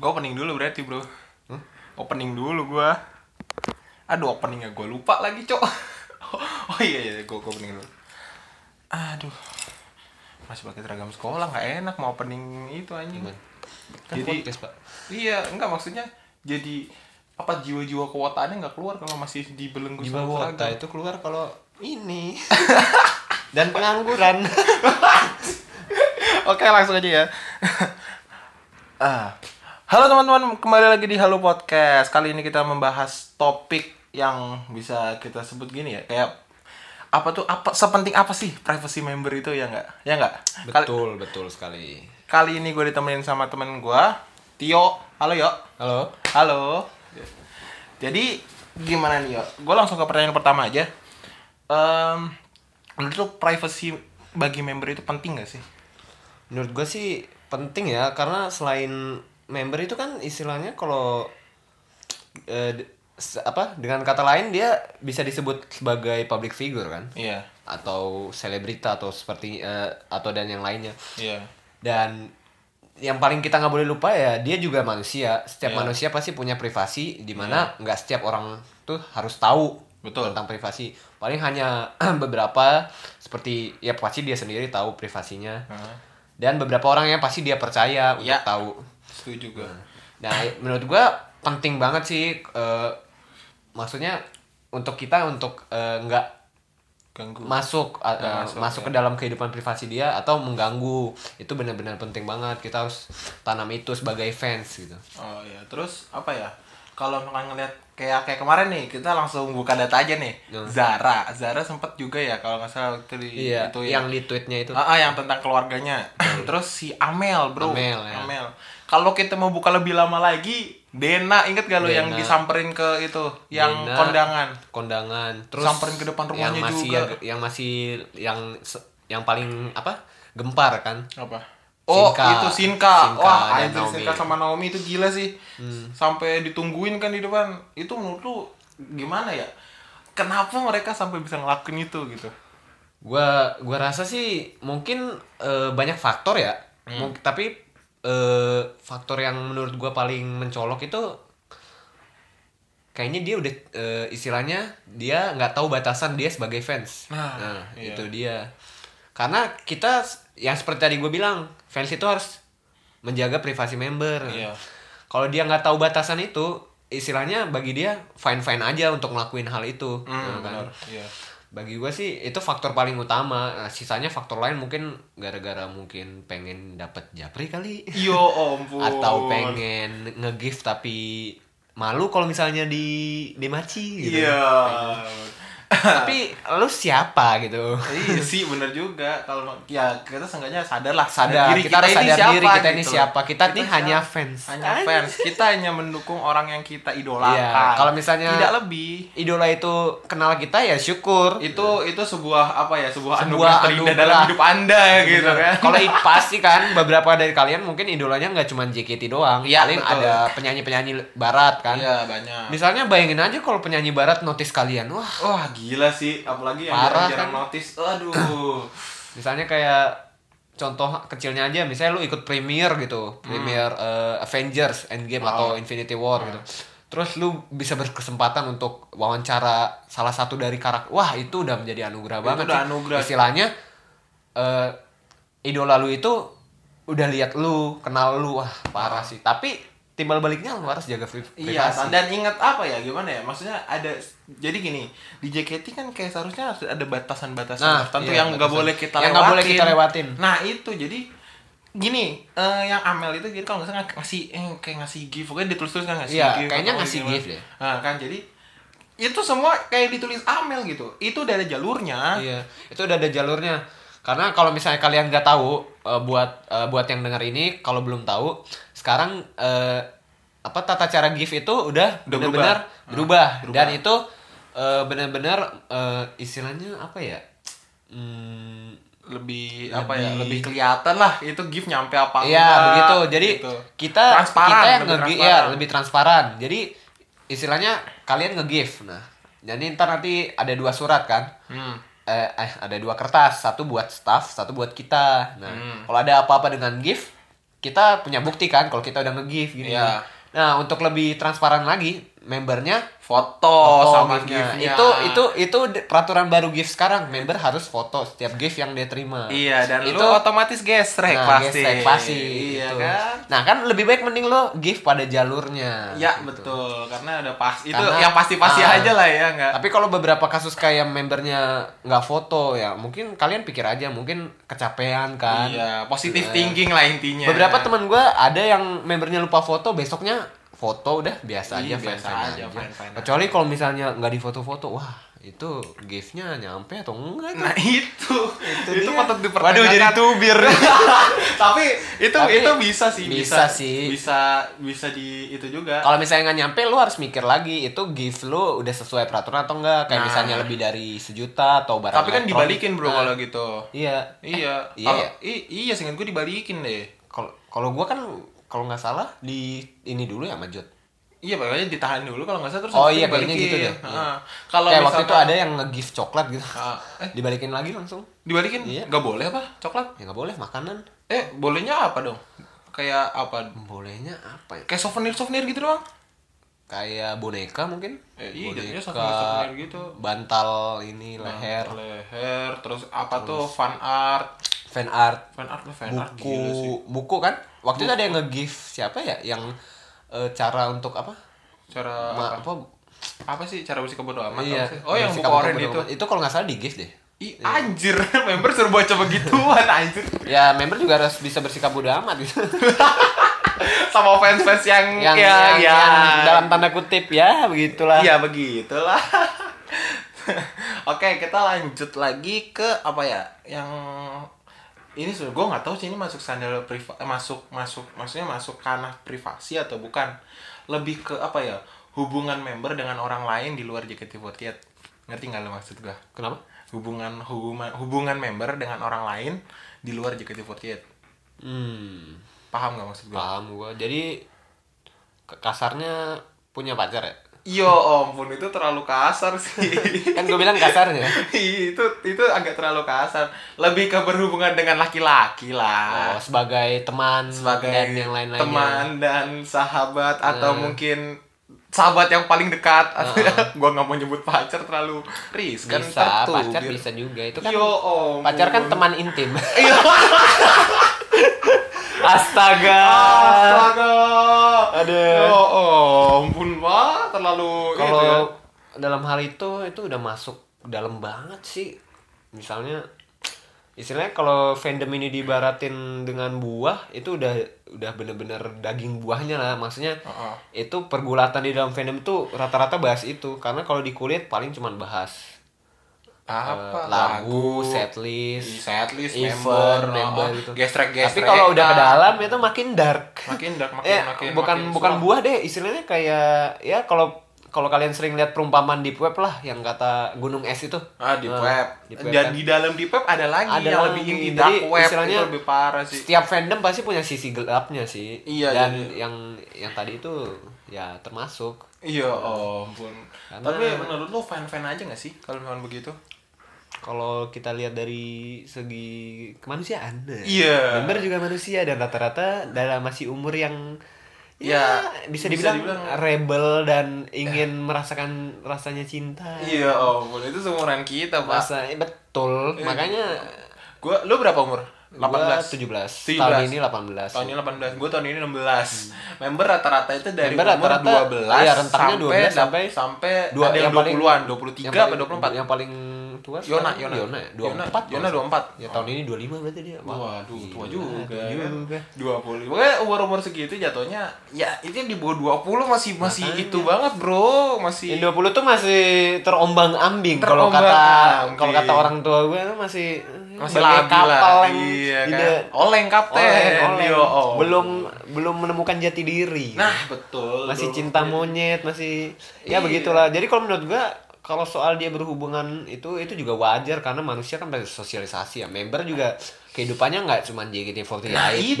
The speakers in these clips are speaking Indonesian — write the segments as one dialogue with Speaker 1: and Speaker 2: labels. Speaker 1: Gue opening dulu berarti bro Opening dulu gue Aduh openingnya gue lupa lagi cok Oh iya iya gue opening dulu Aduh Masih pakai seragam sekolah nggak enak mau opening itu anjing
Speaker 2: Gimana?
Speaker 1: Kan
Speaker 2: Jadi
Speaker 1: podcast, Iya enggak maksudnya Jadi apa jiwa-jiwa kewataannya nggak keluar kalau masih dibelenggu
Speaker 2: jiwa
Speaker 1: sama
Speaker 2: wota
Speaker 1: seragam
Speaker 2: itu keluar kalau ini dan pengangguran.
Speaker 1: Oke langsung aja ya. ah. Halo teman-teman, kembali lagi di Halo Podcast. Kali ini kita membahas topik yang bisa kita sebut gini ya, kayak apa tuh apa sepenting apa sih privacy member itu ya enggak? Ya enggak? Kali,
Speaker 2: betul betul sekali.
Speaker 1: kali ini gue ditemenin sama temen gue, Tio. Halo Yo.
Speaker 2: Halo.
Speaker 1: Halo. Jadi gimana nih, Yo? Gue langsung ke pertanyaan pertama aja. Em, menurut lu privacy bagi member itu penting gak sih?
Speaker 2: Menurut gue sih penting ya karena selain member itu kan istilahnya kalau eh, de- se- apa dengan kata lain dia bisa disebut sebagai public figure kan
Speaker 1: Iya.
Speaker 2: atau selebrita atau seperti eh, atau dan yang lainnya.
Speaker 1: Iya.
Speaker 2: dan yang paling kita nggak boleh lupa ya dia juga manusia setiap
Speaker 1: Iya.
Speaker 2: manusia pasti punya privasi di mana nggak setiap orang tuh harus tahu
Speaker 1: Betul.
Speaker 2: tentang privasi paling hanya beberapa seperti ya pasti dia sendiri tahu privasinya
Speaker 1: Heeh.
Speaker 2: dan beberapa orang yang pasti dia percaya untuk
Speaker 1: Iya.
Speaker 2: tahu
Speaker 1: Setuju gue.
Speaker 2: nah menurut gua penting banget sih eh, maksudnya untuk kita untuk eh, nggak
Speaker 1: Ganggu.
Speaker 2: masuk uh, uh,
Speaker 1: masuk, ya.
Speaker 2: masuk, ke dalam kehidupan privasi dia atau mengganggu itu benar-benar penting banget kita harus tanam itu sebagai fans gitu
Speaker 1: oh iya, terus apa ya? Kalau misalkan ngelihat kayak kayak kemarin nih, kita langsung buka data aja nih.
Speaker 2: Hmm.
Speaker 1: Zara, Zara sempat juga ya kalau nggak salah itu di
Speaker 2: iya
Speaker 1: itu ya.
Speaker 2: yang di tweetnya itu
Speaker 1: Ah, ah, yang tentang keluarganya. terus si Amel, Bro.
Speaker 2: Amel, ya.
Speaker 1: Amel. Kalau kita mau buka lebih lama lagi, Dena inget gak lo yang
Speaker 2: Dena.
Speaker 1: disamperin ke itu, yang
Speaker 2: Dina,
Speaker 1: kondangan.
Speaker 2: kondangan terus
Speaker 1: Samperin ke depan rumahnya
Speaker 2: yang masih
Speaker 1: juga.
Speaker 2: ya- yang masih yang se- yang paling apa gempar kan
Speaker 1: Apa? Oh,
Speaker 2: Sinka.
Speaker 1: itu Sinka.
Speaker 2: Sinka
Speaker 1: Wah,
Speaker 2: dan
Speaker 1: anjir
Speaker 2: Naomi. Hmm.
Speaker 1: Sinka sama Naomi itu gila sih. Sampai ditungguin kan di depan. Itu menurut lu gimana ya? Kenapa mereka sampai bisa ngelakuin itu gitu?
Speaker 2: gua gua rasa sih mungkin eh, banyak faktor ya
Speaker 1: Hmm.
Speaker 2: Mung- tapi eh, faktor yang menurut gua paling mencolok itu kayaknya dia udah eh, istilahnya dia nggak tahu batasan dia sebagai fans
Speaker 1: Nah, iya.
Speaker 2: itu dia karena kita s- yang seperti tadi gue bilang fans itu harus menjaga privasi member
Speaker 1: Iya.
Speaker 2: kalau dia nggak tahu batasan itu istilahnya bagi dia fine fine aja untuk ngelakuin hal itu Nah,
Speaker 1: Hmm,
Speaker 2: kan?
Speaker 1: benar. Iya.
Speaker 2: bagi gue sih itu faktor paling utama Nah, sisanya faktor lain mungkin gara-gara mungkin pengen dapat japri kali
Speaker 1: Yo ampun.
Speaker 2: atau pengen nge-gift tapi malu kalau misalnya di dimaci gitu
Speaker 1: Iya.
Speaker 2: tapi lu siapa gitu
Speaker 1: Iya sih bener juga kalau ya kita seenggaknya sadar lah
Speaker 2: sadar kita harus sadar diri kita ini siapa kita, ini hanya
Speaker 1: siapa.
Speaker 2: fans
Speaker 1: gitu. hanya fans kita hanya mendukung orang yang kita idolakan
Speaker 2: Iya, kalau misalnya-
Speaker 1: tidak lebih
Speaker 2: idola itu kenal kita ya syukur
Speaker 1: itu itu sebuah apa ya sebuah,
Speaker 2: Sebuah
Speaker 1: anugerah terindah
Speaker 2: anugerah.
Speaker 1: dalam hidup anda gitu
Speaker 2: Bener.
Speaker 1: kan
Speaker 2: Kalau i- pasti kan beberapa dari kalian mungkin idolanya nggak cuma JKT doang.
Speaker 1: Iya,
Speaker 2: Paling
Speaker 1: betul.
Speaker 2: ada penyanyi-penyanyi barat kan.
Speaker 1: iya banyak
Speaker 2: Misalnya bayangin aja kalau penyanyi barat notice kalian. Wah,
Speaker 1: wah gila sih apalagi yang
Speaker 2: Parah,
Speaker 1: jarang
Speaker 2: kan?
Speaker 1: notice aduh
Speaker 2: misalnya kayak contoh kecilnya aja misalnya lu ikut premiere
Speaker 1: Hmm.
Speaker 2: gitu. Premiere eh, Avengers Endgame atau Infinity War gitu.
Speaker 1: Hmm.
Speaker 2: Terus lu bisa berkesempatan untuk wawancara salah satu dari karakter. Wah, itu udah menjadi anugerah
Speaker 1: Itu
Speaker 2: banget.
Speaker 1: udah
Speaker 2: sih.
Speaker 1: anugerah.
Speaker 2: Istilahnya eh, idola lu itu udah lihat lu, kenal lu. Wah, parah sih. Tapi timbal baliknya lu harus jaga pri-
Speaker 1: Iya,
Speaker 2: privasi.
Speaker 1: dan ingat apa ya? Gimana ya? Maksudnya ada jadi gini, di JKT kan kayak seharusnya harus ada batasan-batasan
Speaker 2: Nah,
Speaker 1: tertentu
Speaker 2: iya,
Speaker 1: yang nggak
Speaker 2: batasan.
Speaker 1: boleh kita
Speaker 2: Yang
Speaker 1: lewatin.
Speaker 2: nggak boleh kita lewatin.
Speaker 1: Nah, itu jadi gini, eh, yang Amel itu jadi kalau nggak salah ngasih eh, kayak ngasih gift, pokoknya ditulis-tulis kan ngasih
Speaker 2: Iya,
Speaker 1: gift.
Speaker 2: kayaknya
Speaker 1: atau
Speaker 2: ngasih
Speaker 1: gimana.
Speaker 2: gift deh.
Speaker 1: Nah, kan jadi itu semua kayak ditulis Amel gitu. Itu udah ada jalurnya.
Speaker 2: Iya, itu udah ada jalurnya. Karena kalau misalnya kalian nggak tahu eh, buat eh, buat yang denger ini kalau belum tahu, sekarang eh, apa tata cara gift itu udah
Speaker 1: Udah Ah,
Speaker 2: benar-benar berubah.
Speaker 1: berubah.
Speaker 2: dan itu eh, benar-benar eh, istilahnya apa ya? Hmm,
Speaker 1: Lebih, apa ya? Lebih kelihatan lah itu gift nyampe apa
Speaker 2: Iya
Speaker 1: enggak,
Speaker 2: begitu. Jadi
Speaker 1: gitu.
Speaker 2: kita
Speaker 1: transparan,
Speaker 2: kita yang
Speaker 1: lebih
Speaker 2: nge ya,
Speaker 1: transparan.
Speaker 2: lebih transparan. Jadi istilahnya kalian nge-give. Nah, jadi ntar nanti ada dua surat kan.
Speaker 1: Hmm.
Speaker 2: Eh, eh,
Speaker 1: Hmm.
Speaker 2: ada dua kertas, satu buat staff, satu buat kita. Nah, kalau ada apa-apa dengan gift, kita punya bukti kan kalau kita udah nge-give gini.
Speaker 1: Iya.
Speaker 2: Nah, untuk lebih transparan lagi, membernya
Speaker 1: foto,
Speaker 2: foto
Speaker 1: Oh, sama iya. gift-nya.
Speaker 2: gift-nya. Itu itu itu di- peraturan baru gift sekarang, member harus foto setiap gift yang dia terima.
Speaker 1: Iya, dan
Speaker 2: itu
Speaker 1: lu otomatis gesrek
Speaker 2: nah,
Speaker 1: pasti.
Speaker 2: gesek pasti.
Speaker 1: Iya
Speaker 2: gitu.
Speaker 1: kan?
Speaker 2: Nah, kan lebih baik mending lo gift pada jalurnya.
Speaker 1: Ya, betul. Karena udah pas itu
Speaker 2: Nah, gitu. Karena-
Speaker 1: yang pasti-pasti
Speaker 2: nah.
Speaker 1: aja lah ya, enggak.
Speaker 2: Tapi kalau beberapa kasus kayak membernya nggak foto ya, mungkin kalian pikir aja mungkin kecapean kan.
Speaker 1: Iya, positive
Speaker 2: Iya.
Speaker 1: thinking lah intinya.
Speaker 2: Beberapa teman gue ada yang membernya lupa foto, besoknya foto udah biasa
Speaker 1: Iya,
Speaker 2: aja, fine-fine
Speaker 1: biasa aja, fine-fine aja.
Speaker 2: Kecuali kalau misalnya nggak difoto-foto, wah itu giftnya nyampe atau enggak? gitu. tuh?
Speaker 1: Nah, itu. Itu,
Speaker 2: dia.
Speaker 1: patut dipertanyakan.
Speaker 2: Waduh, jadi
Speaker 1: tubir. Tapi itu
Speaker 2: Tapi
Speaker 1: itu bisa sih,
Speaker 2: bisa
Speaker 1: bisa,
Speaker 2: sih.
Speaker 1: Bisa bisa di itu juga.
Speaker 2: Kalau misalnya nggak nyampe, lu harus mikir lagi itu gift lu udah sesuai peraturan atau enggak? Kayak
Speaker 1: Nah.
Speaker 2: misalnya lebih dari sejuta atau barang.
Speaker 1: Tapi kan
Speaker 2: elektronik.
Speaker 1: dibalikin, Bro,
Speaker 2: Nah,
Speaker 1: kalau gitu.
Speaker 2: Iya.
Speaker 1: Iya.
Speaker 2: iya
Speaker 1: Kalau-
Speaker 2: ya?
Speaker 1: i- iya, seingat gue dibalikin deh.
Speaker 2: Kalau kalau gue kan kalau nggak salah di ini dulu ya Majut.
Speaker 1: Iya, pokoknya ditahan dulu kalau nggak salah terus
Speaker 2: Oh
Speaker 1: habis itu
Speaker 2: iya, kayaknya
Speaker 1: dibalikin.
Speaker 2: gitu deh. Iya.
Speaker 1: Heeh. Kalau
Speaker 2: Kayak waktu
Speaker 1: misalkan-
Speaker 2: itu ada yang nge-gift coklat gitu.
Speaker 1: Ah, eh.
Speaker 2: Dibalikin lagi langsung.
Speaker 1: dibalikin
Speaker 2: Iya.
Speaker 1: nggak boleh apa coklat
Speaker 2: Ya nggak boleh makanan.
Speaker 1: eh bolehnya apa dong kayak apa
Speaker 2: Bolehnya apa ya?
Speaker 1: kayak souvenir souvenir gitu doang
Speaker 2: Kayak boneka mungkin?
Speaker 1: Eh, iya, jadinya souvenir-souvenir gitu. Nah,
Speaker 2: Bantal ini leher,
Speaker 1: leher terus apa tuh fan art
Speaker 2: fan art,
Speaker 1: fan art fan art
Speaker 2: buku,
Speaker 1: gila sih
Speaker 2: buku kan? Waktu itu ada yang nge-gift siapa ya? Yang eh, cara untuk apa?
Speaker 1: cara
Speaker 2: Ma-
Speaker 1: apa?
Speaker 2: apa?
Speaker 1: apa sih cara bersih kebodo amat
Speaker 2: Iya.
Speaker 1: apa sih? oh yang
Speaker 2: bersikap
Speaker 1: buku orange
Speaker 2: bodoh
Speaker 1: itu
Speaker 2: amat. Iya. Itu kalau nggak salah di-gift deh.
Speaker 1: Ih, anjir member suruh baca begituan anjir
Speaker 2: Ya, member juga harus bisa bersikap bodoh amat gitu.
Speaker 1: sama fans fans yang
Speaker 2: yang,
Speaker 1: ya,
Speaker 2: yang-
Speaker 1: ya.
Speaker 2: yang dalam tanda kutip ya begitulah
Speaker 1: Iya begitulah. Oke kita lanjut lagi ke apa ya yang ini sudah gue nggak tahu sih ini masuk sandal priva eh, masuk masuk maksudnya masuk ranah privasi atau bukan lebih ke apa ya hubungan member dengan orang lain di luar JKT48 ngerti nggak lo maksud gue
Speaker 2: kenapa
Speaker 1: hubungan hubungan hubungan member dengan orang lain di luar JKT48
Speaker 2: hmm
Speaker 1: paham nggak maksud gue?
Speaker 2: paham gua jadi ke- kasarnya punya pacar ya
Speaker 1: Yo ampun itu terlalu kasar sih.
Speaker 2: kan gua bilang kasarnya
Speaker 1: Iya, itu itu agak terlalu kasar lebih ke berhubungan dengan laki-laki lah
Speaker 2: oh, sebagai
Speaker 1: Ah.
Speaker 2: teman
Speaker 1: sebagai
Speaker 2: dan yang Hmm. lain lainnya
Speaker 1: teman dan sahabat atau mungkin sahabat yang paling dekat gua nggak mau nyebut pacar terlalu riskan
Speaker 2: Hmm. bisa
Speaker 1: Kan ntar tuh, Iya,
Speaker 2: pacar
Speaker 1: biar-
Speaker 2: bisa juga itu kan
Speaker 1: Yo, Iya, ampun.
Speaker 2: pacar kan teman intim astaga
Speaker 1: astaga
Speaker 2: Aduh.
Speaker 1: yo ampun wah terlalu
Speaker 2: kalau
Speaker 1: itu ya.
Speaker 2: dalam hal itu itu udah masuk dalam banget sih misalnya istilahnya kalau fandom ini dibaratin dengan buah itu udah udah bener-bener daging buahnya lah maksudnya
Speaker 1: Uh-uh.
Speaker 2: itu pergulatan di dalam fandom itu rata-rata bahas itu karena kalau di kulit paling cuman bahas
Speaker 1: apa iya,
Speaker 2: eh, lagu, setlist,
Speaker 1: setlist
Speaker 2: event,
Speaker 1: member,
Speaker 2: member
Speaker 1: oh,
Speaker 2: gitu.
Speaker 1: gestrek
Speaker 2: Tapi kalau udah ke dalam itu makin dark.
Speaker 1: makin dark makin
Speaker 2: Eh,
Speaker 1: makin
Speaker 2: bukan
Speaker 1: makin
Speaker 2: bukan
Speaker 1: suram.
Speaker 2: buah deh istilahnya kayak ya kalau kalau kalian sering lihat perumpamaan di web lah yang kata gunung es itu
Speaker 1: Ah, deep
Speaker 2: Nah,
Speaker 1: web.
Speaker 2: deep web
Speaker 1: Dan
Speaker 2: kan.
Speaker 1: di dalam deep web ada lagi yang
Speaker 2: Ada lagi.
Speaker 1: lebih ini
Speaker 2: Jadi,
Speaker 1: dark web
Speaker 2: istilahnya-
Speaker 1: itu lebih parah sih.
Speaker 2: setiap fandom pasti punya sisi gelapnya sih
Speaker 1: Iya,
Speaker 2: dan
Speaker 1: jadi-
Speaker 2: yang yang tadi itu ya termasuk
Speaker 1: Iya, ampun.
Speaker 2: Karena-
Speaker 1: Tapi menurut lo fan-fan aja gak sih kalau memang begitu?
Speaker 2: kalau kita lihat dari segi kemanusiaan ya.
Speaker 1: Iya.
Speaker 2: member juga manusia dan rata-rata dalam masih umur yang ya,
Speaker 1: Ya,
Speaker 2: bisa,
Speaker 1: bisa
Speaker 2: dibilang,
Speaker 1: dibilang-
Speaker 2: rebel dan ingin merasakan rasanya cinta
Speaker 1: Iya, ampun. Itu seumuran kita, Pak.
Speaker 2: Eh. Masa eh, betul.
Speaker 1: Eh,
Speaker 2: Makanya
Speaker 1: Gua lu berapa umur?
Speaker 2: gua
Speaker 1: 18.
Speaker 2: 17. Tahun ini 18.
Speaker 1: Tahun ini 18. Gue tahun ini 16. Member rata-rata itu dari
Speaker 2: Hmm. Member
Speaker 1: umur
Speaker 2: rata-rata,
Speaker 1: 12
Speaker 2: iya, rentangnya 12
Speaker 1: sampai
Speaker 2: sampai-
Speaker 1: sampai
Speaker 2: Dua-
Speaker 1: ada yang,
Speaker 2: paling-
Speaker 1: 20-an,
Speaker 2: yang
Speaker 1: 23
Speaker 2: paling-
Speaker 1: apa 24?
Speaker 2: Yang paling tua
Speaker 1: Yona,
Speaker 2: sekarang
Speaker 1: Yona.
Speaker 2: Yona, 24.
Speaker 1: Yona 24.
Speaker 2: Ya tahun ini 25 berarti dia. Wah,
Speaker 1: Waduh, tua
Speaker 2: gila,
Speaker 1: juga.
Speaker 2: tua juga.
Speaker 1: Dua puluh. Pokoknya umur-umur segitu jatuhnya ya itu di bawah 20 masih masih
Speaker 2: Makanya.
Speaker 1: itu banget, Bro. Masih
Speaker 2: Yang 20 tuh masih terombang-ambing kalau kata
Speaker 1: Terombang-ambing.
Speaker 2: kalau kata orang tua gue tuh masih eh,
Speaker 1: masih
Speaker 2: bagai
Speaker 1: labil lah.
Speaker 2: kapal yang
Speaker 1: Iya kan.
Speaker 2: tidak
Speaker 1: Oleng kapten.
Speaker 2: oleng, oleng.
Speaker 1: Yo, oh.
Speaker 2: belum belum menemukan jati diri.
Speaker 1: Nah, betul.
Speaker 2: masih
Speaker 1: Belum.
Speaker 2: cinta monyet masih
Speaker 1: Iya.
Speaker 2: ya begitulah jadi kalau menurut gua kalau soal dia berhubungan itu itu juga wajar karena manusia kan pasti sosialisasi ya member juga kehidupannya nggak cuma JKT48
Speaker 1: Nah, itu. Ah.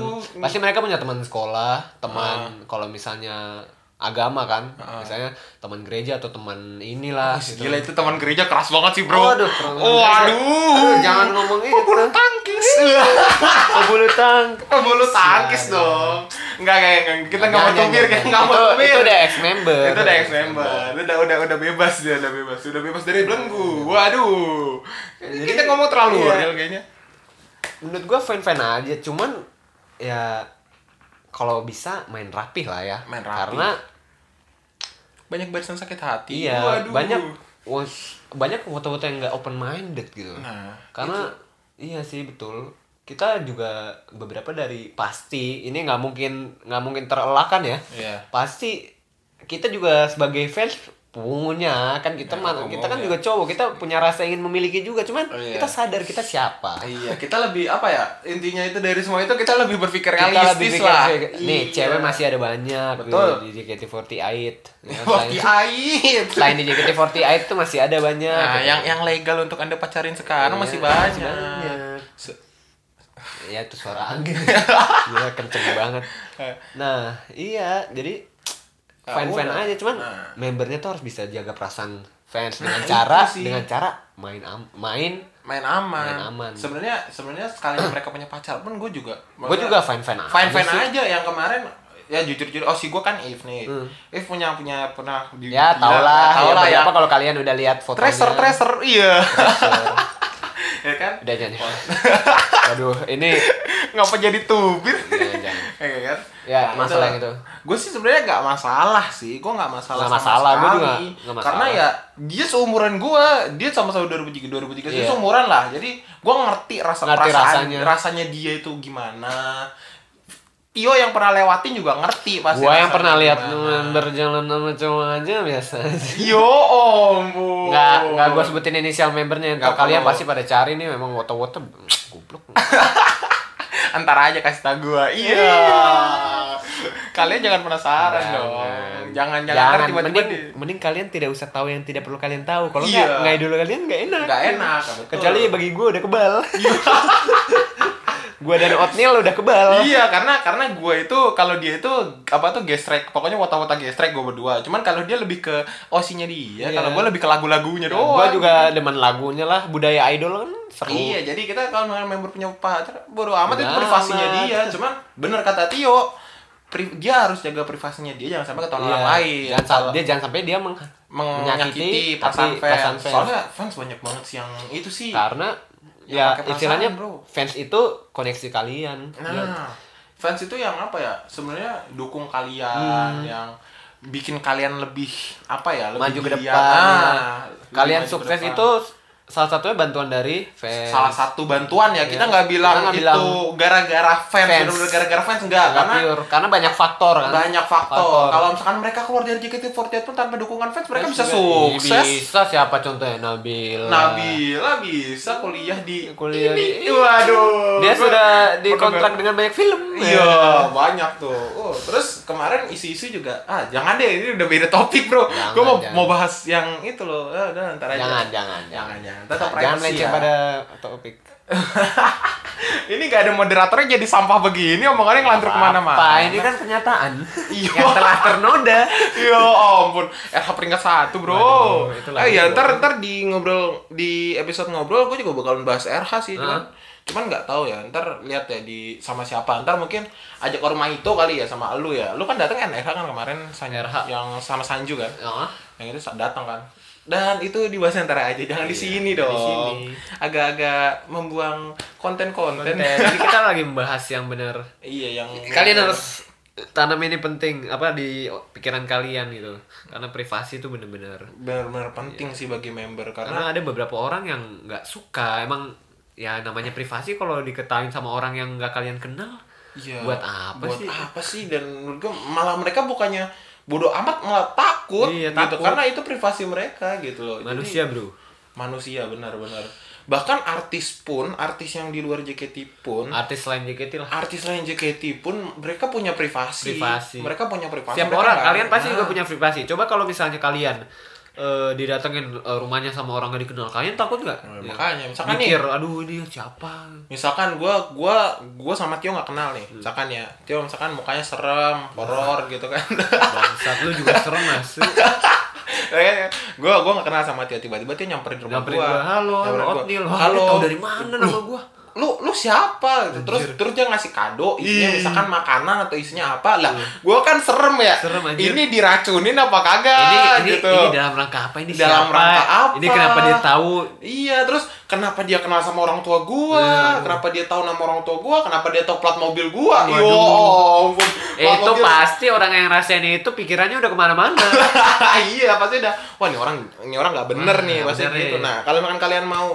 Speaker 2: doang pasti mereka punya teman sekolah teman kalau misalnya agama kan misalnya teman gereja atau teman inilah gitu.
Speaker 1: Gila itu teman gereja keras banget sih bro.
Speaker 2: Waduh, teman
Speaker 1: Oh,
Speaker 2: gereja.
Speaker 1: aduh.
Speaker 2: Aduh, jangan ngomong itu.
Speaker 1: Pebulu tangkis.
Speaker 2: Pebulu tang.
Speaker 1: Pebulu tangkis dong. Enggak kayak kita nggak mau tumir kayak nggak mau
Speaker 2: Itu-
Speaker 1: tumir.
Speaker 2: Itu udah ex member.
Speaker 1: Itu udah ex member. Udah udah udah bebas dia udah bebas. Udah bebas dari belenggu. Waduh. kita ngomong terlalu
Speaker 2: iya.
Speaker 1: real kayaknya.
Speaker 2: Menurut gua fan-fan aja, cuman ya kalau bisa main rapih lah ya.
Speaker 1: Main rapih.
Speaker 2: Karena
Speaker 1: Banyak barisan sakit hati.
Speaker 2: iya
Speaker 1: Waduh.
Speaker 2: banyak wos- banyak foto-foto yang nggak open minded gitu.
Speaker 1: Nah,
Speaker 2: Karena iya sih betul. Kita juga beberapa dari pasti ini nggak mungkin nggak mungkin terelakkan ya.
Speaker 1: Iya.
Speaker 2: Pasti kita juga sebagai fans punya kan kita
Speaker 1: Ya,
Speaker 2: man- kita kan
Speaker 1: ngomongnya.
Speaker 2: juga cowok kita punya rasa ingin memiliki juga cuman
Speaker 1: Oh, iya.
Speaker 2: kita sadar kita siapa
Speaker 1: Iya, kita lebih apa ya? Intinya itu dari semua itu kita lebih berpikir
Speaker 2: kita
Speaker 1: realistis
Speaker 2: lebih pikir, gitu.
Speaker 1: lah.
Speaker 2: nih
Speaker 1: Iya.
Speaker 2: cewek masih ada banyak
Speaker 1: Betul. Iya.
Speaker 2: di JKT48 Ya,
Speaker 1: Wah,
Speaker 2: selain-
Speaker 1: aib.
Speaker 2: selain di JKT48 tuh masih ada banyak
Speaker 1: Nah, yang yang legal untuk Anda pacarin sekarang
Speaker 2: Iya,
Speaker 1: masih
Speaker 2: masih
Speaker 1: banyak.
Speaker 2: banyak.
Speaker 1: Se-
Speaker 2: ya itu suara angin gila kenceng banget nah iya jadi
Speaker 1: Ah,
Speaker 2: fan fan
Speaker 1: udah.
Speaker 2: aja cuman
Speaker 1: Nah.
Speaker 2: membernya tuh harus bisa jaga perasaan fans dengan
Speaker 1: itu
Speaker 2: cara
Speaker 1: sih.
Speaker 2: dengan cara main am- main
Speaker 1: main aman.
Speaker 2: Main aman.
Speaker 1: Sebenarnya sebenarnya sekali mereka punya pacar pun gue juga.
Speaker 2: gue juga fan fan
Speaker 1: Fine fine aja yang kemarin ya jujur jujur oh si gue kan If nih If punya punya pernah di-
Speaker 2: Hmm. ya
Speaker 1: gila,
Speaker 2: tau lah
Speaker 1: tau
Speaker 2: ya,
Speaker 1: lah ya
Speaker 2: beberapa kalau kalian udah lihat fotonya
Speaker 1: tracer tracer iya ya kan
Speaker 2: udah jangan waduh ini
Speaker 1: ngapa jadi tubir
Speaker 2: Jangan, jangan.
Speaker 1: ya kan
Speaker 2: Ya, masalah yang itu.
Speaker 1: gue sih sebenarnya nggak masalah sih gue nggak masalah
Speaker 2: Nggak masalah, gua juga
Speaker 1: sekali.
Speaker 2: nggak masalah.
Speaker 1: karena ya dia seumuran gue dia sama-sama 2003 2003 sih
Speaker 2: Iya.
Speaker 1: seumuran lah jadi gue ngerti rasa
Speaker 2: Ngerti
Speaker 1: perasaan-
Speaker 2: rasanya.
Speaker 1: rasanya dia itu gimana Tio yang pernah lewatin juga ngerti pasti
Speaker 2: gue yang
Speaker 1: rasanya
Speaker 2: pernah lihat
Speaker 1: gimana.
Speaker 2: member jalan sama cowok aja biasa aja
Speaker 1: Yo ombo.
Speaker 2: nggak nggak gue sebutin inisial membernya
Speaker 1: Oh.
Speaker 2: ntar
Speaker 1: Nggak
Speaker 2: kalian
Speaker 1: perlu.
Speaker 2: pasti pada cari nih memang foto foto goblok
Speaker 1: Antar aja kasih tau gue. Iya. Kalian jangan penasaran dong. Jangan jangan, ntar tiba-tiba
Speaker 2: mending,
Speaker 1: di-
Speaker 2: mending kalian tidak usah tahu yang tidak perlu kalian tahu. Kalau
Speaker 1: Iya.
Speaker 2: nggak nggak idol kalian nggak enak.
Speaker 1: Nggak enak, betul.
Speaker 2: Kecuali bagi gue udah kebal. gue dan Otnil udah kebal.
Speaker 1: Iya, karena karena gue itu kalau dia itu apa tuh gestrek, pokoknya wata-wata gestrek gue berdua. Cuman kalau dia lebih ke osinya dia,
Speaker 2: Iya.
Speaker 1: kalau gue lebih ke lagu-lagunya doang.
Speaker 2: gue juga demen lagunya lah budaya idol kan seru.
Speaker 1: Iya, jadi kita kalau misalnya member punya pacar, bodo amat itu
Speaker 2: Bodo
Speaker 1: privasinya
Speaker 2: amat.
Speaker 1: dia. Cuman bener kata Tio, pri- dia harus jaga privasinya dia jangan sampai ketahuan orang lain.
Speaker 2: Iya. Jangan, sa-
Speaker 1: Kalau-
Speaker 2: dia jangan sampai dia meng-
Speaker 1: menyakiti
Speaker 2: menyakiti
Speaker 1: perasaan
Speaker 2: tapi
Speaker 1: fans.
Speaker 2: perasaan fans.
Speaker 1: Soalnya fans banyak banget sih yang itu sih.
Speaker 2: karena
Speaker 1: Ya,
Speaker 2: ya,
Speaker 1: pakai perasaan,
Speaker 2: istilahnya
Speaker 1: bro.
Speaker 2: fans itu koneksi kalian.
Speaker 1: Nah,
Speaker 2: Iya.
Speaker 1: fans itu yang apa ya? Sebenarnya dukung kalian yang bikin kalian lebih apa ya? Lebih
Speaker 2: Hmm. maju ke
Speaker 1: geliat.
Speaker 2: depan.
Speaker 1: Ah, lebih
Speaker 2: Kalian
Speaker 1: maju ke
Speaker 2: sukses
Speaker 1: depan.
Speaker 2: itu salah satunya bantuan dari fans.
Speaker 1: salah satu bantuan ya. Kita
Speaker 2: Iya.
Speaker 1: nggak bilang
Speaker 2: Kita nggak
Speaker 1: itu
Speaker 2: bilang
Speaker 1: gara-gara fans,
Speaker 2: fans.
Speaker 1: bener-bener gara-gara fans enggak
Speaker 2: Nggak
Speaker 1: karena
Speaker 2: pure. karena banyak faktor kan.
Speaker 1: banyak faktor. Kalau misalkan mereka keluar dari JKT48 pun tanpa dukungan fans, mereka
Speaker 2: Terus
Speaker 1: bisa
Speaker 2: juga-
Speaker 1: sukses.
Speaker 2: Bisa siapa contohnya Nabila.
Speaker 1: Nabila bisa kuliah di
Speaker 2: Kuliah
Speaker 1: Ini.
Speaker 2: di-
Speaker 1: Waduh.
Speaker 2: Dia
Speaker 1: Gua-
Speaker 2: sudah
Speaker 1: gua
Speaker 2: dikontrak
Speaker 1: kagak-
Speaker 2: dengan banyak film.
Speaker 1: Iya, banyak tuh. Oh, terus kemarin isu-isu juga. Ah, jangan deh, ini udah beda topik, Bro.
Speaker 2: Jangan,
Speaker 1: Gua mau
Speaker 2: jangan.
Speaker 1: mau bahas yang itu loh. Eh, udah ntar aja.
Speaker 2: Jangan, jangan,
Speaker 1: Jangan, jangan. Tetap
Speaker 2: Tetap
Speaker 1: privacy
Speaker 2: jangan melenceng
Speaker 1: ya.
Speaker 2: pada topik.
Speaker 1: ini gak ada moderatornya jadi sampah begini, omongannya ngelantur kemana mana
Speaker 2: Apa? Ini kan kenyataan.
Speaker 1: Iya.
Speaker 2: Yang telah ternoda.
Speaker 1: Ya ampun, RH peringkat satu bro.
Speaker 2: Waduh, itu lagi,
Speaker 1: eh ya
Speaker 2: bro.
Speaker 1: ntar ntar di ngobrol di episode ngobrol, gue juga bakalan bahas RH sih, cuman cuman nggak tahu ya. Ntar lihat ya di sama siapa. Ntar mungkin ajak ke rumah itu kali ya sama lu ya. Lu kan datang kan RH kan kemarin San-
Speaker 2: RH.
Speaker 1: yang sama Sanju kan.
Speaker 2: Oh.
Speaker 1: Yang itu sa- datang kan. Dan itu dibahas ntar aja, jangan di sini
Speaker 2: Iya, jangan
Speaker 1: dong.
Speaker 2: di sini.
Speaker 1: Agak-agak membuang konten-konten.
Speaker 2: Jadi kita lagi membahas yang benar.
Speaker 1: iya yang
Speaker 2: kalian harus tanam ini penting apa di pikiran kalian gitu karena privasi itu bener-bener
Speaker 1: benar-benar penting sih bagi member karena
Speaker 2: karena ada beberapa orang yang nggak suka emang ya namanya privasi kalau diketahui sama orang yang nggak kalian kenal
Speaker 1: Iya.
Speaker 2: buat apa
Speaker 1: buat
Speaker 2: sih
Speaker 1: apa sih dan menurut gue malah mereka bukannya bodoh amat malah takut
Speaker 2: Iya,
Speaker 1: gitu
Speaker 2: takut.
Speaker 1: karena itu privasi mereka gitu loh Jadi-
Speaker 2: manusia bro
Speaker 1: manusia benar-benar bahkan artis pun artis yang di luar JKT pun
Speaker 2: artis lain JKT lah
Speaker 1: artis lain JKT pun mereka punya privasi
Speaker 2: Privasi.
Speaker 1: mereka punya privasi
Speaker 2: Siapa
Speaker 1: mereka
Speaker 2: orang
Speaker 1: nggak-
Speaker 2: kalian pasti
Speaker 1: Nah,
Speaker 2: juga punya privasi coba kalau misalnya kalian eh, didatengin eh, rumahnya sama orang gak dikenal kalian takut nggak?
Speaker 1: Nah,
Speaker 2: Ya.
Speaker 1: makanya misalkan nih
Speaker 2: mikir aduh dia siapa
Speaker 1: misalkan gue gua gua sama Tio nggak kenal nih
Speaker 2: Hmm.
Speaker 1: misalkan ya Tio misalkan mukanya serem horor gitu kan
Speaker 2: bangsat lu juga serem masuk
Speaker 1: gue Eh, iya, gua nggak kenal sama Tio tiba-tiba Tio nyamperin rumah
Speaker 2: nyamperin
Speaker 1: gua.
Speaker 2: gua halo
Speaker 1: Nyamperin gua,
Speaker 2: Otnil
Speaker 1: halo
Speaker 2: tahu dari mana nama gua
Speaker 1: lu lu siapa gitu. terus
Speaker 2: Anjir.
Speaker 1: terus dia ngasih kado isinya
Speaker 2: Ih. Iya.
Speaker 1: misalkan makanan atau isinya apa lah gua kan serem ya
Speaker 2: Serem, anjir.
Speaker 1: ini diracunin apa kagak
Speaker 2: ini ini,
Speaker 1: gitu
Speaker 2: ini dalam rangka apa ini
Speaker 1: Dalam
Speaker 2: siapa?
Speaker 1: rangka apa?
Speaker 2: ini kenapa dia tahu
Speaker 1: Iya, terus kenapa dia kenal sama orang tua gua? Kenapa dia tahu nama orang tua gua? Kenapa dia tahu plat mobil gua?
Speaker 2: Iya. Waduh.
Speaker 1: Yo, ampun.
Speaker 2: Eh,
Speaker 1: Plat
Speaker 2: itu
Speaker 1: mobil-
Speaker 2: pasti orang yang rasain itu pikirannya udah kemana-mana
Speaker 1: iya, pasti udah. Wah, ini orang ini orang nggak bener
Speaker 2: Hmm,
Speaker 1: nih,
Speaker 2: nggak
Speaker 1: pasti
Speaker 2: bener
Speaker 1: gitu.
Speaker 2: nih.
Speaker 1: Nah, kalau misalkan kalian mau